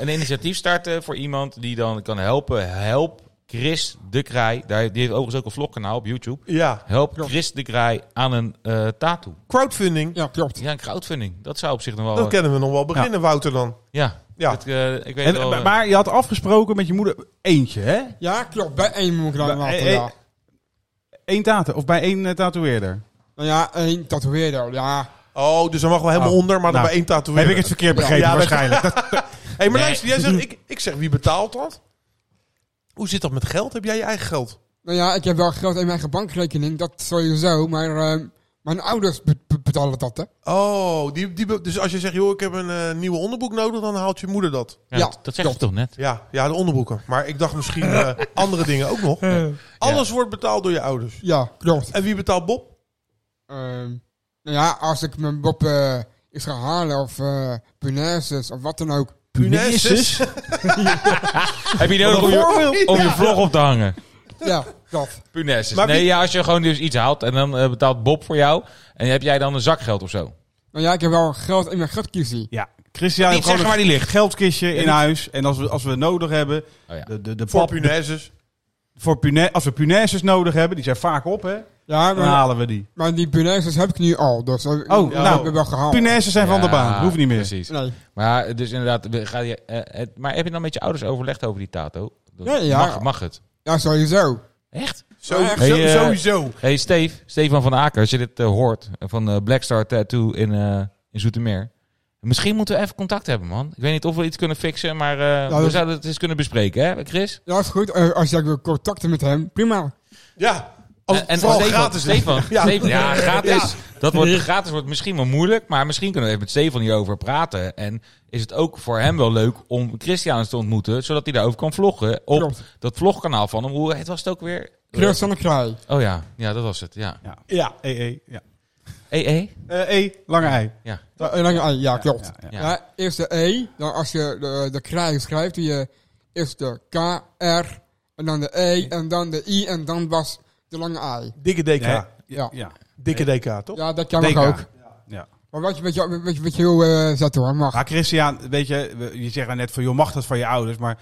een initiatief starten voor iemand die dan kan helpen. Help Chris de Kraai. Daar, die heeft overigens ook een vlogkanaal op YouTube.
Ja.
Help Chris de Kraai aan een eh tattoo.
Crowdfunding.
Ja, klopt.
Ja, een crowdfunding. Dat zou op zich nog wel...
Dat kennen we nog wel beginnen, Wouter dan.
ja,
Ja.
Dat, eh, ik weet
En-
wel... eh,
maar- maar je had afgesproken met je moeder eentje, hè?
Ja, klopt. Bij één moet ik dan
Bij-
laten,
eh,
ja.
Eén tato, of bij één eh, tatoeëerder.
Nou ja, één tatoeëerder, ja.
Oh, dus dan mag wel helemaal
Oh.
onder, maar dan
Nou,
bij één tatoeëerder.
verkeerd
begrepen,
waarschijnlijk.
hey,
Nee.
maar luister, jij zegt, ik, ik zeg, wie betaalt dat? Hoe zit dat met geld? Heb jij je eigen geld?
Nou ja, ik heb wel geld in mijn eigen bankrekening, dat sowieso, maar ehm, mijn ouders be- be- betalen dat, hè?
Oh, die, die, be- dus als je zegt, joh, ik heb een eh, nieuwe onderbroek nodig, dan haalt je moeder dat.
ja,
ja,
dat, dat zeg je
klopt.
toch net?
Ja, ja de onderbroeken. Maar ik dacht misschien eh, andere dingen ook nog. Alles wordt betaald door je ouders.
Ja, klopt.
En wie betaalt Bob?
Ehm, nou ja, als ik mijn Bob eh, is gaan halen of eh punaises of wat dan ook.
Punaises?
Heb je nodig om je, om je vlog op te hangen?
Ja, dat.
Punes.
Maar
Nee,
wie-
ja, als je gewoon dus iets haalt en dan eh, betaalt Bob voor jou. En heb jij dan een zakgeld of zo? Oh
Nou ja, ik heb wel geld in mijn geldkiesie.
Ja, Christian heeft gewoon
zeggen waar
een
die ligt.
geldkistje in
niet-
huis. En als we, als we nodig hebben,
Oh ja.
de, de, de
Voor
pap-
punaises.
voor pune- als we punaises nodig hebben, die zijn vaak op, hè,
Ja,
dan
maar,
halen we die.
maar die punaises heb ik nu al. Dus oh,
nou.
heb ik wel gehaald.
Punaises zijn van de baan,
Ja,
hoeft niet meer.
Precies.
Nee.
Maar dus inderdaad, we- ga je, eh, het, maar heb je dan met je ouders overlegd over die tato? Dat-
Ja, ja.
Mag, mag het?
Ja, sowieso.
Echt?
Zo,
Hey,
zo-
eh,
sowieso.
Hey Steve, Stefan van Aker, als je dit eh, hoort, eh, van eh, Black Star Tattoo in, eh, in Zoetermeer. Misschien moeten we even contact hebben, man. Ik weet niet of we iets kunnen fixen, maar eh,
Nou, dat
we
is-
zouden het eens kunnen bespreken, hè, Chris?
Ja, is goed. Eh, als jij wil contacten met hem, prima.
Ja. Als,
En- en
vooral
Stefan,
gratis. hè?
Stefan,
Ja.
Stefan, ja, gratis. Dat wordt, gratis wordt misschien wel moeilijk, maar misschien kunnen we even met Stefan hierover praten. En is het ook voor hem wel leuk om Christian eens te ontmoeten, zodat hij daarover kan vloggen op
Klopt.
dat vlogkanaal van hem. Hoe het was het ook weer?
Chris van der Kraai.
Oh ja, ja, dat was het, ja.
Ja, ja EE. Ja.
EE?
Eh, E, lange ei.
Ja, eh, lange ei, ja, klopt.
Ja, ja,
ja.
Ja, eerst de E. Dan als je de, de kraai schrijft, doe je eerst de K, R, en dan de E, en dan de I, en dan was de lange ei.
Dikke DK.
Nee.
Ja,
Ja.
Dikke DK, toch?
ja dat kan ik ook.
Ja.
Maar wat je met je, met je, met je heel eh zet hoor, mag.
Maar Christian, weet je, we- je zegt nou net van, joh, mag dat van je ouders? Maar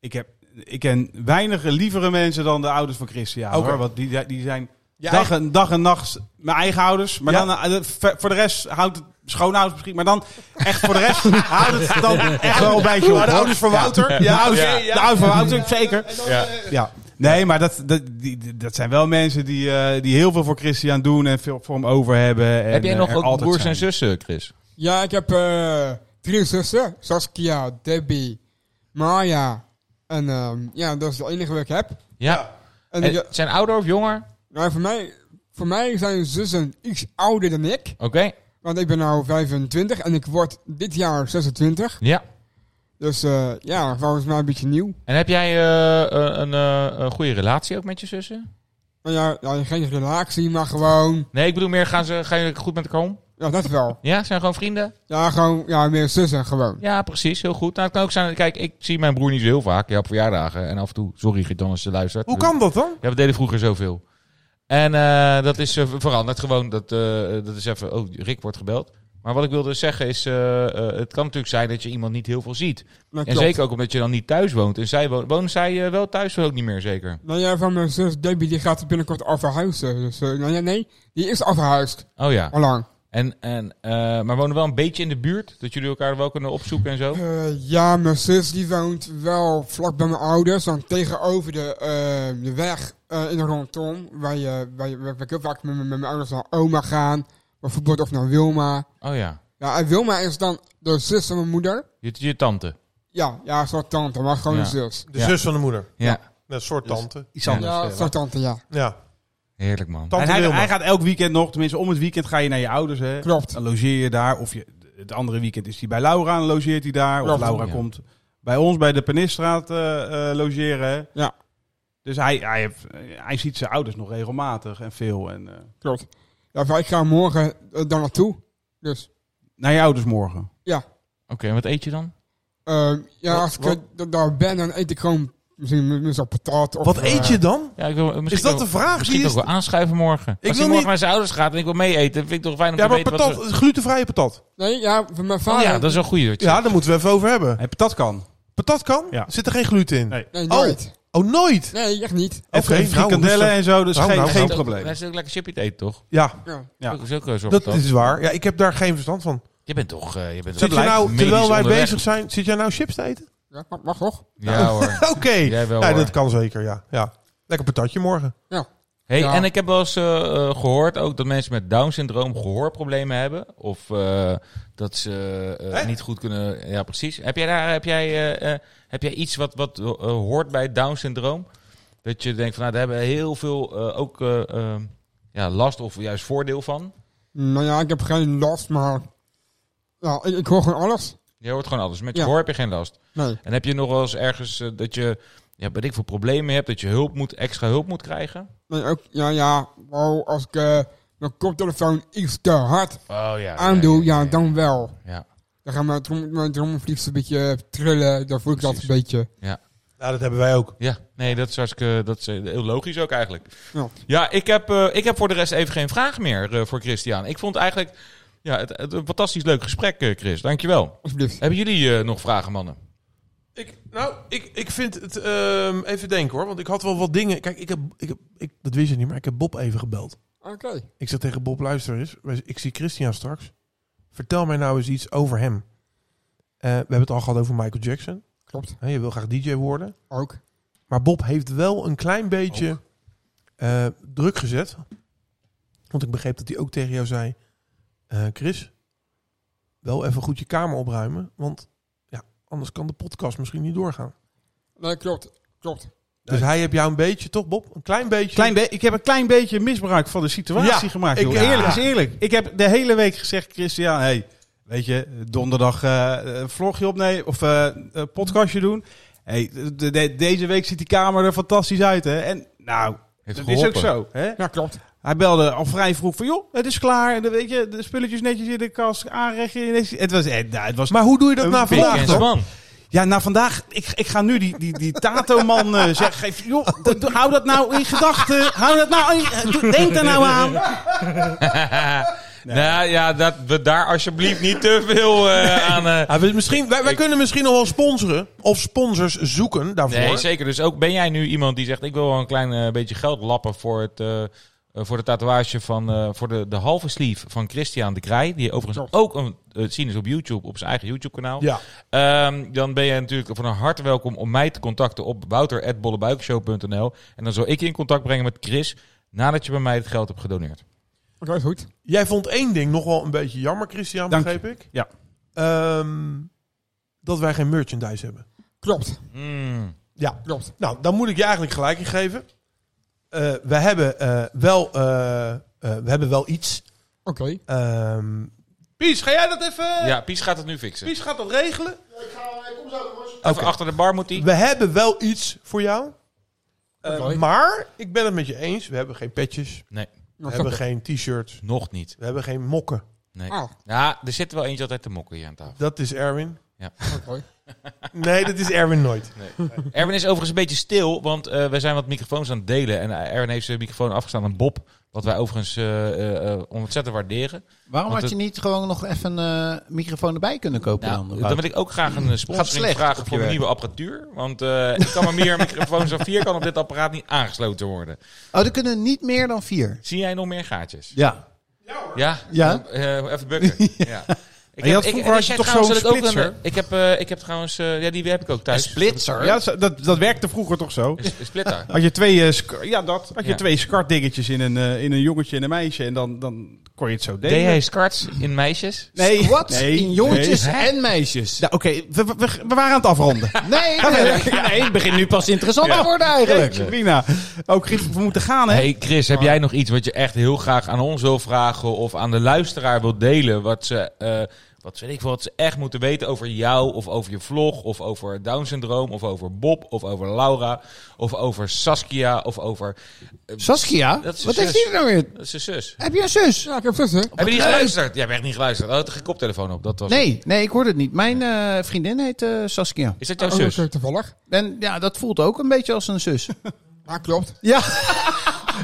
ik, heb, ik ken weinig lievere mensen dan de ouders van Christian,
Oké.
hoor. Want die, die zijn
Ja,
dag, en, dag en nacht mijn eigen ouders. Maar
Ja.
dan, eh, de- ver- voor de rest houdt het schoonouders misschien. Maar dan echt voor de rest houdt het dan echt wel een beetje op.
Maar de
hoor.
ouders van
Ja.
Wouter?
Ja,
Ja,
de ouders-
oké, ja.
de ouders van Wouter, zeker.
Ja.
eh,
Ja. Nee, maar dat, dat, die, die- dat zijn wel mensen die, eh, die heel veel voor Christian doen en veel voor hem over hebben. En,
Heb jij
eh,
nog
er
ook
altijd
broers
zijn.
en zussen, Chris?
Ja, ik heb eh, drie zussen. Saskia, Debbie, Maya. En ehm, ja, dat is de enige wat ik heb.
Ja.
En
En
ik,
zijn ouder of jonger?
nou, voor, mij, voor mij zijn zussen iets ouder dan ik.
Oké.
Want ik ben nou 25 en ik word dit jaar 26.
Ja.
Dus eh, ja, volgens mij een beetje nieuw.
En heb jij eh, eh, een, eh, een goede relatie ook met je zussen?
Maar ja, ja, geen relatie, maar gewoon...
Nee, ik bedoel meer, gaan, ze, gaan jullie goed met elkaar om?
Ja, dat wel.
Ja, zijn gewoon vrienden?
Ja, gewoon ja, meer zussen gewoon.
Ja, precies. Heel goed. Nou, het kan ook zijn... Kijk, ik zie mijn broer niet zo heel vaak. Ja, op verjaardagen. En af en toe... Sorry, Gitan, als je luistert.
Hoe kan dat dan?
Ja, we deden vroeger zoveel. En eh, dat is eh, veranderd gewoon. Dat, eh, dat is even... Oh, Rick wordt gebeld. Maar wat ik wilde zeggen is... eh, eh, het kan natuurlijk zijn dat je iemand niet heel veel ziet.
Dat
En
klopt.
zeker ook omdat je dan niet thuis woont. En zij woont... Wonen zij eh, wel thuis ook niet meer, zeker?
Nou ja, van mijn zus Debbie, die gaat binnenkort al verhuizen. Dus, eh, nou ja, nee, die is al verhuisd.
Oh ja.
Allang.
En, en, eh, maar wonen wel een beetje in de buurt? Dat jullie elkaar wel kunnen opzoeken en zo?
Eh, ja, mijn zus die woont wel vlak bij mijn ouders. Dan tegenover de, eh, de weg eh, in de rondom. Waar, je, waar, je, waar ik heel vaak met, met mijn ouders naar oma gaan. Bijvoorbeeld of naar Wilma.
Oh ja,
Ja, en Wilma is dan de zus van mijn moeder.
je, je tante.
Ja, ja, zo'n tante, maar gewoon
Ja.
een zus.
De
Ja.
zus van de moeder.
Ja,
Een soort
Dus-
tante.
Iets anders.
Ja,
eh,
zo'n tante, ja.
Ja.
heerlijk man.
Tante
En hij,
Wilma.
hij gaat elk weekend nog, tenminste om het weekend ga je naar je ouders. Hè?
Klopt.
Dan logeer je daar. Of je, het andere weekend is hij bij Laura en logeert hij daar. Of
Klopt.
Laura
Ja.
komt bij ons bij de Penisstraat eh, eh, logeren. hè.
Ja.
Dus hij, hij, heeft, eh, hij ziet zijn ouders nog regelmatig en veel. En, eh,
Klopt. Ja, maar ik ga morgen eh, daar naartoe. Dus,
naar je ouders morgen.
Oké, en wat eet je dan?
ehm, ja,
Wat-
als ik
wat-
eh, da- daar ben, dan eet ik gewoon misschien m- misschien patat. Of, eh,
Wat eet je dan?
Ja, ik wil, misschien
Is dat
ook-
de vraag?
Misschien
Die
ook
is-
wel aanschuiven morgen. Als
wil
hij morgen
niet-
naar zijn ouders gaat en ik wil mee eten, vind ik toch fijn om
Ja,
te
maar
weten
patat,
wat
glutenvrije patat.
eh, nee, ja, van mijn
ze... Oh
vader.
ja, dat is een goeie.
Ja, daar moeten we even over hebben.
Heb je dat kan?
Patat kan?
Ja.
Zit er geen gluten in?
Nee.
Nee,
Oh.
nooit.
Oh, nooit?
Nee, echt niet.
En
Oké,
fri-
nou,
frikandellen
rustig.
en zo, dus
Nou,
geen,
nou,
geen
nou.
probleem.
Dat is ook lekker chipje te eten, toch?
Ja,
Ja.
Ja.
Dat is ook een soort
dat
patat.
is waar. Ja, ik heb daar geen verstand van.
Je bent toch... eh, je bent
Zit
toch
je nou,
medisch
terwijl wij
onderweg?
bezig zijn, zit jij nou chips te eten?
Ja, mag, mag toch?
Ja hoor.
Oké.
Jij wel,
Ja,
hoor.
dat kan zeker, ja. ja. Lekker patatje morgen.
Hey,
Ja.
En ik heb wel eens eh, eh, gehoord ook dat mensen met Down-syndroom gehoorproblemen hebben. Of eh, dat ze eh,
Hè?
niet goed kunnen... Ja, precies. Heb jij, daar, heb jij, eh, eh, heb jij iets wat, wat eh, hoort bij Down-syndroom? Dat je denkt van, nou, daar hebben heel veel eh, ook eh, eh, ja, last of juist voordeel van.
Nou ja, ik heb geen last, maar... Ja, ik, ik hoor gewoon alles.
Je hoort gewoon alles. Met je
Ja.
gehoor heb je geen last.
Nee.
En heb je nog wel eens ergens eh, dat je... Ja, weet ik veel problemen hebt, dat je hulp moet, extra hulp moet krijgen?
nee ook, ja, ja. Wow, als ik eh, mijn koptelefoon iets te hard
Oh ja.
aandoe, ja, dan wel.
Ja.
Dan gaan mijn, trom, mijn trommelvlies een beetje eh, trillen. Dan voel ik dat een beetje.
Ja, dat hebben wij ook.
Ja, nee, dat is, hartstikke, dat is eh, heel logisch ook eigenlijk. Ja,
Ja.
ik, heb, eh, ik heb voor de rest even geen vraag meer eh, voor Christian. Ik vond eigenlijk ja, het, het een fantastisch leuk gesprek, eh, Chris. Dankjewel.
Alsjeblieft.
Hebben jullie eh, nog vragen, mannen?
Ik, nou, ik, ik vind het... ehm, even denken hoor, want ik had wel wat dingen... Kijk, ik heb, ik heb, ik, dat wist je niet, maar ik heb Bob even gebeld.
Oké.
Ik zeg tegen Bob, luister eens, wij- ik zie Christian straks. Vertel mij nou eens iets over hem. Eh, we hebben het al gehad over Michael Jackson.
Klopt.
Hè, je wil graag DJ worden.
Ook.
Maar Bob heeft wel een klein beetje eh, druk gezet. Want ik begreep dat hij ook tegen jou zei... eh, Chris, wel even goed je kamer opruimen. Want ja, anders kan de podcast misschien niet doorgaan.
Nee, klopt. Klopt.
Dus hij heeft jou een beetje, toch Bob? Een klein beetje...
Klein be- ik heb een klein beetje misbruik van de situatie
Ja,
gemaakt.
ik-
joh.
ja.
Eerlijk is eerlijk. Ik heb de hele week gezegd, Christian, hey, weet je, donderdag eh een vlogje opnemen of eh, een podcastje doen. Hey, de- de- deze week ziet die kamer er fantastisch uit, hè? En nou,
Heeft
dat is
geholpen.
ook zo, hè?
Ja, klopt.
Hij belde al vrij vroeg van, joh, het is klaar. En dan weet je, de spulletjes netjes in de kast, aanrechten. Het was, eh, nou, het was
Maar hoe doe je dat
Een
na
beetje
vandaag
Jens
dan?
man.
ja, nou vandaag, ik, ik ga nu die, die, die Tato-man eh, zeggen, geef- joh, d- d- hou dat nou in gedachten, hou dat nou in, d- denk er nou aan.
Nou ja, dat we daar alsjeblieft niet te veel eh, aan... eh,
Ja, we- misschien, wij, wij kunnen misschien nog wel sponsoren. Of sponsors zoeken daarvoor.
Nee, zeker. Dus ook ben jij nu iemand die zegt: ik wil wel een klein eh, beetje geld lappen voor het. eh, eh, voor de tatoeage van eh, voor de, de halve sleeve van Christian de Krij. Die overigens ook een, eh, te zien is op YouTube, op zijn eigen YouTube kanaal.
Ja.
Ehm, dan ben je natuurlijk van harte welkom om mij te contacten op wouter.bollebuikshow.nl. En dan zal ik je in contact brengen met Chris nadat je bij mij het geld hebt gedoneerd.
Oké, is goed.
Jij vond één ding nog wel een beetje jammer, Christian,
Dank
begreep ik.
Ja.
Ehm, dat wij geen merchandise hebben.
Klopt.
Mm.
Ja.
Klopt.
Nou, dan moet ik je eigenlijk gelijk in geven. Eh, we, hebben, eh, wel, eh, eh, we hebben wel iets.
Oké. Nou,
Ehm Pies, ga jij dat even...
Ja, Pies gaat het nu fixen.
Pies gaat dat regelen.
Ik ga, eh, ik kom zo, jongens.
Even achter de bar moet hij.
We hebben wel iets voor jou. Eh,
Oké.
Maar, ik ben het met je eens. We hebben geen petjes.
Nee,
We
Nou,
hebben
snap ik.
geen t-shirts.
nog niet.
We hebben geen mokken.
Nee.
Ah,
Ja, er zit wel eentje altijd te mokken hier aan tafel.
Dat is Erwin.
oké.
Nee, dat is Erwin nooit.
Erwin is overigens een beetje stil, want eh wij zijn wat microfoons aan het delen. En eh, Erwin heeft zijn microfoon afgestaan aan Bob. Wat wij overigens eh, eh, eh, ontzettend waarderen.
Waarom
Want
had je niet gewoon nog even een eh, microfoon erbij kunnen kopen
Nou,
dan?
dan wil ik ook graag een eh, sponsoring
slecht
vragen
op je
voor een
werk.
nieuwe apparatuur. Want eh, ik kan maar meer microfoons dan vier kan op dit apparaat niet aangesloten worden.
Oh, er kunnen niet meer dan vier.
Zie jij nog meer gaatjes?
Ja.
Ja?
Ja.
Eh, even bukken. ja. Ik
je had
ik-
vroeger
en
had je
jij
toch
trouwens
zo'n
dat ik ook
splitser?
een- Ik heb, eh, ik heb trouwens... eh, ja, die heb ik ook thuis.
Splitser?
Ja, dat, dat, dat werkte vroeger toch zo?
Een s- een splitter.
Had je twee, eh, sk- ja, dat, had je
Ja.
twee skartdingetjes in een, eh, in een jongetje en een meisje en dan, dan kon je het zo
Deed
delen.
hij skarts in meisjes?
Nee,
Wat?
nee,
In jongetjes
nee.
en meisjes?
Ja, Oké, we, we, we- we waren aan het afronden.
Nee, nee, nee, het begint nu pas interessant te worden eigenlijk.
Leuk, prima. Ook Griet, we moeten gaan, hè?
Hey Chris,
Oh.
heb jij nog iets wat je echt heel graag aan ons wil vragen of aan de luisteraar wil delen? Wat ze, eh, wat, weet ik, veel, wat ze echt moeten weten over jou of over je vlog of over Down syndroom of over Bob of over Laura of over Saskia of over
Saskia,
Dat is
wat
een
heeft
zus.
die er nou weer?
dat is zijn zus.
Heb je een zus?
Ja, ik heb zussen.
Heb je niet
leuk.
geluisterd? Jij hebt echt niet geluisterd. Hij had een koptelefoon op. Dat was
Nee, nee, ik hoorde het niet. Mijn eh, vriendin heet eh, Saskia.
Is dat jouw
Oh,
zus?
oké, toevallig.
En ja, dat voelt ook een beetje als een zus.
Ja, klopt.
Ja,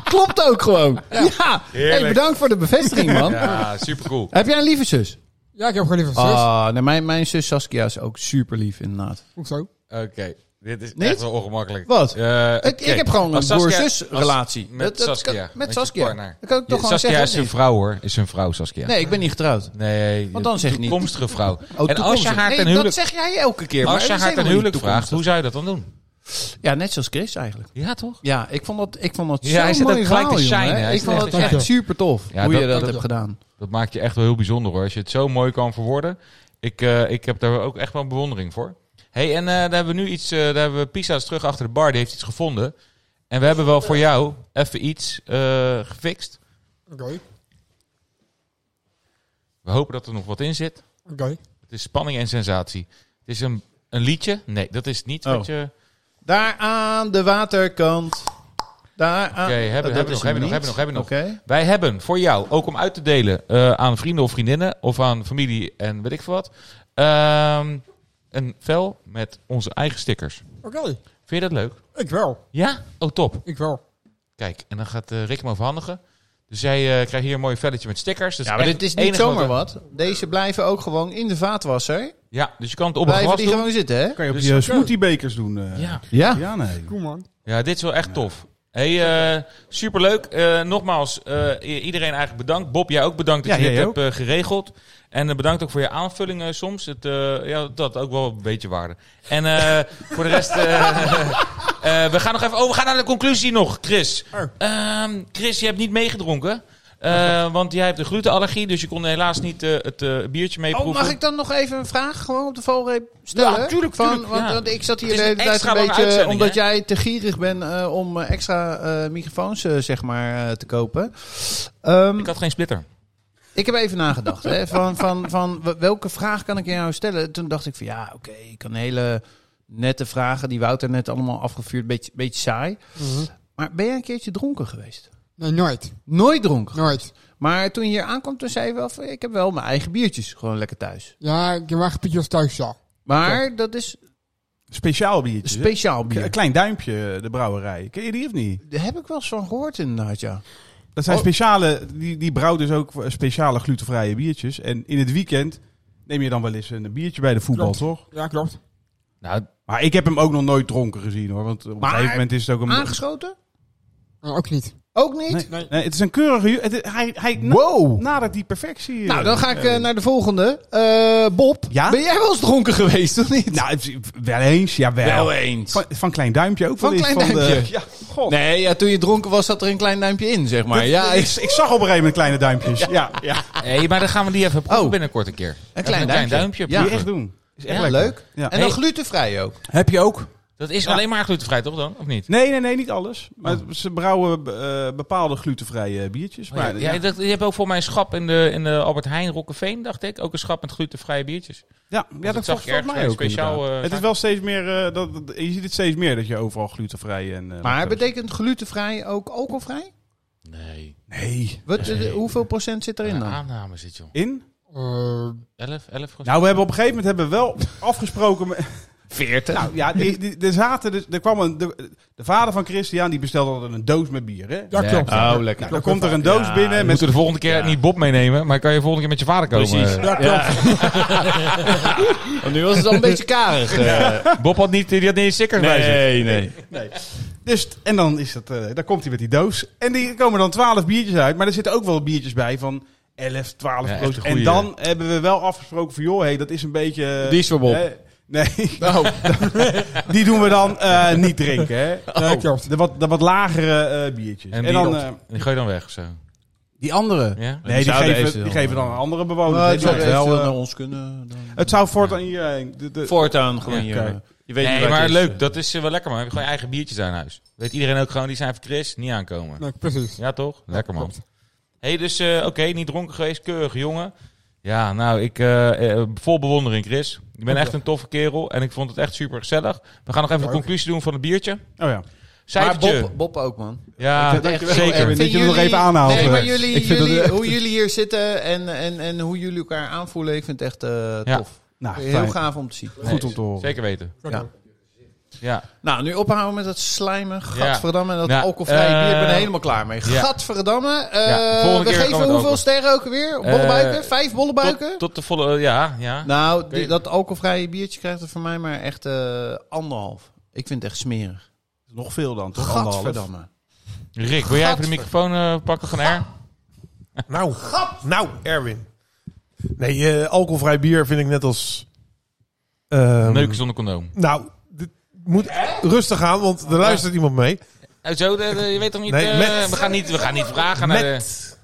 klopt ook gewoon. Ja,
Heerlijk.
Hey, bedankt voor de bevestiging, man.
Ja, supercool.
Heb jij een lieve zus?
Ja, ik heb gewoon liever een zus.
Ah, nee, mijn, mijn zus Saskia is ook super lief, inderdaad.
Hoezo?
Oké. Dit is
Niet?
echt wel ongemakkelijk.
Wat?
Eh,
Ik,
oké.
ik heb gewoon een
Als Saskia-
broer-zus-relatie.
als- Met
Dat- dat
Saskia.
kan-
met je
Met Saskia.
partner.
Dat kan ik toch
Ja,
gewoon
Saskia
zeggen.
is zijn
of
vrouw hoor. Is zijn vrouw Saskia.
niet? Nee, ik ben niet getrouwd.
Nee,
Want
de
dan zeg je niet.
toekomstige vrouw.
Oh,
en als
toekomst.
je haar
Nee,
ten huwelijk,
dat zeg jij elke keer. maar
als je
dat is
haar ten
helemaal niet
huwelijk vraagt, hoe
toekomstig.
zou je dat dan doen?
Ja, net zoals Chris eigenlijk.
Ja, toch?
Ja, ik vond dat, ik vond dat
Ja, hij
zo
zit
mooi
ook gelijk te
verhaal, jongen,
shinen.
hè.
Hij
Ik
is
vond
echt-
dat
echt-
echt super tof,
Ja,
hoe
dat-
je dat,
dat-
hebt gedaan.
Dat maakt je echt wel heel bijzonder hoor. Als je het zo mooi kan verwoorden. Ik, eh, ik heb daar ook echt wel bewondering voor. hey, en eh, daar hebben we nu iets. eh, daar hebben we Pisa's terug achter de bar. Die heeft iets gevonden. En we hebben wel voor jou even iets eh, gefixt.
Oké.
We hopen dat er nog wat in zit.
Oké.
Het is spanning en sensatie. Het is een, een liedje. Nee, dat is niet wat
Oh.
je.
Daar aan de waterkant. Daar aan...
Oké, hebben-
Ah, Dat
hebben
is
we nog, hebben we nog, hebben
hem
we nog, hebben we nog.
Oké.
Wij hebben voor jou, ook om uit te delen eh, aan vrienden of vriendinnen of aan familie en weet ik veel wat, ehm, een vel met onze eigen stickers.
Oké.
Vind je dat leuk?
Ik wel.
Ja? Oh, top.
Ik wel.
Kijk, en dan gaat eh, Rick hem overhandigen. Dus jij eh, krijgt hier een mooi velletje met stickers. Dat
Ja, maar
echt
dit is
het
niet
enige
zomaar
we-
wat. Deze blijven ook gewoon in de vaatwasser.
Ja, dus je kan het op een
Blijven
glas
die
doen.
gewoon zitten, hè?
Kan je op
Dus-
je smoothiebekers doen. eh.
Ja.
Ja.
Ja, nee.
Cool, man.
ja, dit is wel echt tof. hey, eh, superleuk. Eh, nogmaals, eh, i- iedereen eigenlijk bedankt. Bob, jij ook bedankt dat
Ja,
je dit
jij
hebt eh, geregeld. En eh, bedankt ook voor je aanvullingen soms. Het, eh, ja, dat had ook wel een beetje waarde. En eh, voor de rest... eh, eh, we gaan nog even... Oh, we gaan naar de conclusie nog, Chris. Ehm, Chris, je hebt niet meegedronken. Eh, want jij hebt een glutenallergie, dus je kon helaas niet eh, het eh, biertje meeproeven.
Oh, mag ik dan nog even een vraag gewoon op de valreep stellen?
Ja, tuurlijk,
Van,
tuurlijk,
want,
ja.
want ik zat hier
Het
de
is een
hele tijd
extra
een
lange
beetje...
uitzending,
Omdat
hè?
jij te gierig bent eh, om eh, extra eh, microfoons, eh, zeg maar, eh, te kopen. Ehm,
Ik had geen splitter.
Ik heb even nagedacht. Hè, van, van, van w- welke vraag kan ik jou stellen? Toen dacht ik van ja, oké, ik kan hele nette vragen die Wouter net allemaal afgevuurd, beetje, beetje saai.
Mhm.
Maar ben jij een keertje dronken geweest?
Nee, nooit.
Nooit dronken.
Nooit.
Maar toen je hier aankwam, toen zei je wel van ik heb wel mijn eigen biertjes, gewoon lekker thuis.
Ja, ik heb echt Pietjes thuis, ja.
Maar dat is
Speciaal
een
biertjes. hè?
speciaal
K- Een
bier.
klein duimpje, eh, de brouwerij. Ken je die of niet?
Daar heb ik wel eens van gehoord inderdaad, ja.
Dat zijn
Oh.
speciale, die, die brouwt dus ook voor speciale glutenvrije biertjes. En in het weekend neem je dan wel eens een biertje bij de voetbal,
Klopt.
toch?
Ja, klopt.
Nou,
Maar ik heb hem ook nog nooit dronken gezien hoor. Want op een
Maar-
gegeven moment is het ook een.
Aangeschoten?
Eh, ook niet.
Ook niet?
Nee, nee, het is een keurige. ju- Het, is- hij hij na-
Wow!
nadert die perfectie. eh.
Nou, dan ga ik eh, naar de volgende. Eh, Bob,
Ja?
ben jij wel eens dronken geweest of niet?
Nou, het is- wel eens, jawel.
eens.
Van, van klein duimpje ook
Van
wel eens.
Klein
de-
Duimpje.
ja, god.
Nee, ja, toen je dronken was, zat er een klein duimpje in, zeg maar. ja,
ik, ik zag op een gegeven moment kleine duimpjes. Ja, ja.
Hé, maar dan gaan we die even proeven
Oh.
binnenkort een keer. Even
klein duimpje. Ja.
proeven.
Die echt doen. Is echt
Ja,
lekker.
leuk.
Ja.
En dan
Hey.
glutenvrij ook.
Heb je ook?
Dat is
Ja.
alleen maar glutenvrij, toch dan? Of niet?
Nee, nee, nee, niet alles. Maar
Oh.
ze brouwen eh, bepaalde glutenvrije biertjes.
Oh, ja,
Maar,
ja,
ja,
ik dacht, je hebt ook voor mij een schap in de, in de Albert Heijn Rokkeveen, dacht ik. Ook een schap met glutenvrije biertjes. Dus
ja,
dat
dat
zag
zag
ik ergens
mij ook.
speciaal,
inderdaad.
eh,
het is wel steeds meer. eh, dat, dat- je ziet het steeds meer dat je overal glutenvrij en. eh,
Maar
lactose-
betekent glutenvrij ook alcoholvrij?
Nee.
Nee.
Wat, eh, hoeveel procent zit erin dan?
aanname zit, joh.
In?
Eh,
11, 11 procent.
Nou, we hebben op een gegeven moment hebben we wel afgesproken. met-
40.
Nou ja, die, die, er zaten dus, er kwam een, de, de vader van Christian die bestelde altijd een doos met bier. Hè?
ja,
Nee.
klopt.
Oh, lekker.
Nou, dan komt er een doos binnen
Moeten
met.
we de volgende keer niet Bob meenemen, maar kan je volgende keer met je vader komen. eh,
Precies.
Ja, klopt.
Want nu was het al een beetje karig. eh.
Bob had niet, die had niet een sticker bij zich.
Nee, nee.
Dus, t- en dan, is dat, eh, dan komt hij met die doos. En die komen dan 12 biertjes uit. Maar er zitten ook wel biertjes bij van 11, 12
Ja, echt
procent.
goeie.
En dan hebben we wel afgesproken van joh, hey, dat is een beetje. eh,
Die is voor Bob.
hè, nee, die doen we dan eh, niet drinken. Hè? Eh,
Nee, klopt.
De wat, de wat lagere eh, biertjes.
En
En,
die
dan
dan-
eh,
Die gooi je dan weg of zo.
Die andere.
Ja?
nee, die,
zouden
geven,
eventueel-
die
eh,
geven dan een andere bewoner.
Maar
Nee,
Nou, het zou
die-
wel
wel, eh,
naar ons kunnen. dan.
Het zou voortaan iedereen. eh, De, de,
Voortaan gewoon
Ja,
hier.
kijk.
Je weet niet
Nee,
waar
maar
het is.
leuk. Dat is eh, wel lekker, man. Heb je gewoon je eigen biertjes aan huis. Weet iedereen ook gewoon, die zijn voor Chris, niet aankomen.
Nee, precies.
Ja, toch? Lekker, man.
klopt.
hey, dus eh, oké, niet dronken geweest, keurig jongen. Ja, nou, ik eh, eh, vol bewondering, Chris. Je bent echt een toffe kerel en ik vond het echt super gezellig. We gaan nog even de conclusie doen van het biertje.
oh ja.
Maar
Cijfertje.
Bob, Bob ook, man.
ja,
Ik-
echt
dankjewel,
zeker.
Erwin.
Vinden
dat je hem nog even aanhaalt,
Nee,
eh.
maar jullie,
Ik vind dat
jullie,
echt-
hoe jullie hier zitten en, en, en hoe jullie elkaar aanvoelen, ik vind het echt eh,
Ja.
tof.
Nou,
Heel
fijn.
gaaf om te zien.
Goed om te horen.
Zeker weten.
Ja.
Ja,
Nou, nu ophouden met dat slijmen. Gadverdamme, dat
Ja.
alcoholvrij bier. Ik ben er
Eh,
helemaal klaar mee.
ja.
Gadverdamme. eh,
Ja, volgende
we
keer
geven
kan het
hoeveel
ook.
sterren ook weer?
Eh,
Bollebuiken? Vijf bollebuiken?
tot, tot de volle... Ja, ja.
nou, die-
Oké.
dat alcoholvrije biertje krijgt er voor mij maar echt eh, anderhalf. Ik vind het echt smerig.
Nog veel dan, toch? Anderhalf.
Gadverdamme.
Rick, wil jij even de
Gadver-
microfoon eh, pakken van R?
Nou, nou, Erwin. Nee, eh, alcoholvrij bier vind ik net als... ehm,
Neuken zonder condoom.
Nou, dit moet rustig aan, want er luistert iemand mee.
Eh, Zo, de- de- je weet toch niet...
Nee,
eh,
met-
we, gaan niet we gaan niet vragen naar de...
Met,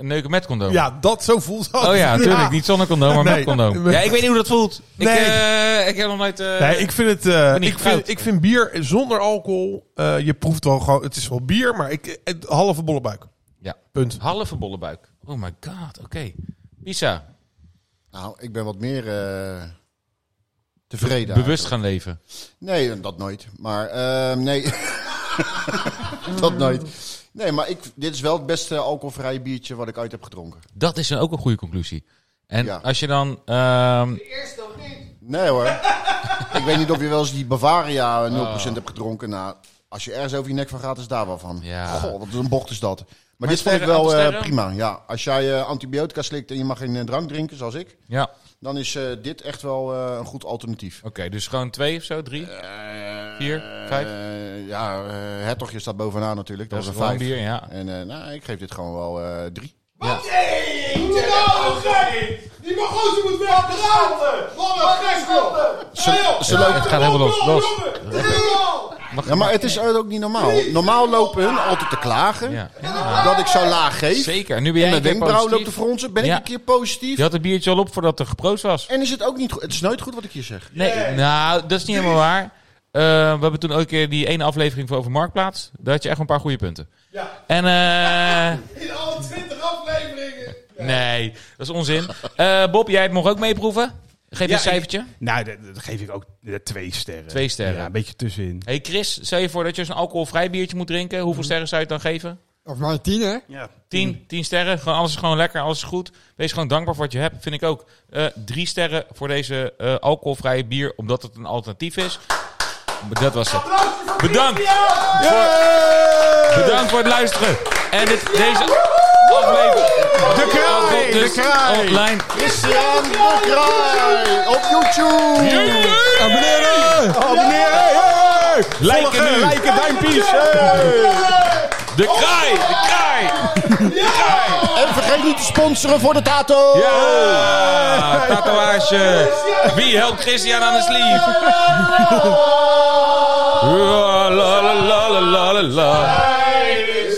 Neuken met condoom.
ja, dat zo voelt dat.
Oh ja, natuurlijk. Niet zonder condoom, maar
Nee.
met condoom. Ja, ik weet niet hoe dat voelt. Ik,
Nee.
eh, ik heb nog nooit... eh,
Nee, ik vind het. eh,
ben niet
ik, vind,
getrouwd.
ik vind bier zonder alcohol. eh, je proeft wel gewoon. Het is wel bier, maar ik, het, halve bolle buik.
Ja.
Punt.
Halve bolle buik. Oh my god, oké. Pisa,
Nou, ik ben wat meer eh, tevreden.
bewust gaan leven.
Nee, eh, dat nooit. Maar ehm, nee. dat nooit. Nee, maar ik, dit is wel het beste alcoholvrije biertje wat ik uit heb gedronken.
Dat is dan ook een goede conclusie. En
Ja.
als je dan... ehm,
Nee hoor. Ik weet niet of je wel eens die Bavaria eh, 0%
Oh.
hebt gedronken. Nou, als je ergens over je nek van gaat, is daar wel van.
Ja.
Goh, wat een bocht is dat. Maar, dit vond
sterren,
ik wel
aantal
eh,
sterren?
prima. Ja, als jij eh, antibiotica slikt en je mag geen eh, drank drinken, zoals ik,
Ja, oké.
dan is eh, dit echt wel eh, een goed alternatief.
dus gewoon twee of zo, drie. Eh, Vier,
Eh,
vijf?
ja, eh, hertogje staat bovenaan natuurlijk. Dat,
Dat
is
is
een
gewoon
vijf.
bier, ja.
En eh, nou, ik geef dit gewoon wel eh, drie. Ze, ze lopen-
Het gaat helemaal los. los.
Ja, maar het is ook niet normaal. Normaal lopen hun altijd te klagen
Ja.
dat ik zo laag geef.
Zeker. En nu ben jij
Mijn
een keer
wenkbrauw loopt te
positief.
fronsen. Ben
Ja.
ik een keer positief?
Je had het biertje al op voordat er geproost was.
En is het ook niet goed? Het is nooit goed wat ik hier zeg.
Nee, nou, dat is niet helemaal waar. Eh, we hebben toen ook een keer die ene aflevering voor over Marktplaats. Daar had je echt een paar goede punten. Ja. En eh... In alle twintig afleveringen. Nee, dat is onzin. Eh, Bob, jij mocht ook meeproeven. Geef
Ja,
een cijfertje.
Nou, dat, dat geef ik ook eh, twee sterren.
Twee sterren.
Ja, een beetje tussenin.
Hey Chris, stel je voor dat je eens een alcoholvrij biertje moet drinken. Hoeveel sterren zou je het dan geven?
Of maar tien, hè?
Ja.
Tien, tien sterren. Gewoon, alles is gewoon lekker, alles is goed. Wees gewoon dankbaar voor wat je hebt, vind ik ook. Eh, drie sterren voor deze eh, alcoholvrije bier, omdat het een alternatief is. Dat was het. Bedankt. Voor, bedankt voor het luisteren. En dit, deze aflevering... De
kraai, de kraai.
Online.
Christian de Kraai op YouTube.
Abonneren!
Abonneren!
Lijken nu.
Lijken, duimpjes!
De kraai, de kraai.
En vergeet niet te sponsoren voor de tato.
Ja! Tatoeage! Wie helpt Christian aan de sleeve? La, la, la, la, la, la, la, la.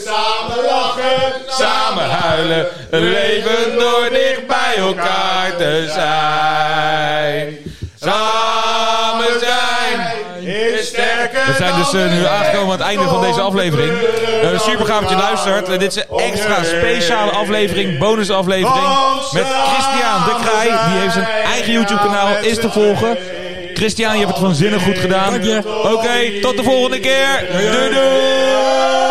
Samen lachen,
Samen huilen, een leven door dicht bij elkaar te zijn. Samen zijn is sterker. We zijn dus eh, nu aangekomen aan het einde van deze aflevering. Eh, super gaaf dat je luistert. Eh, dit is een extra speciale aflevering, bonusaflevering. Met Christian de Kraai. Die heeft zijn eigen YouTube-kanaal, is te volgen. Christian, je hebt het van zinnen goed gedaan. Oké, tot de volgende keer. Doei doei!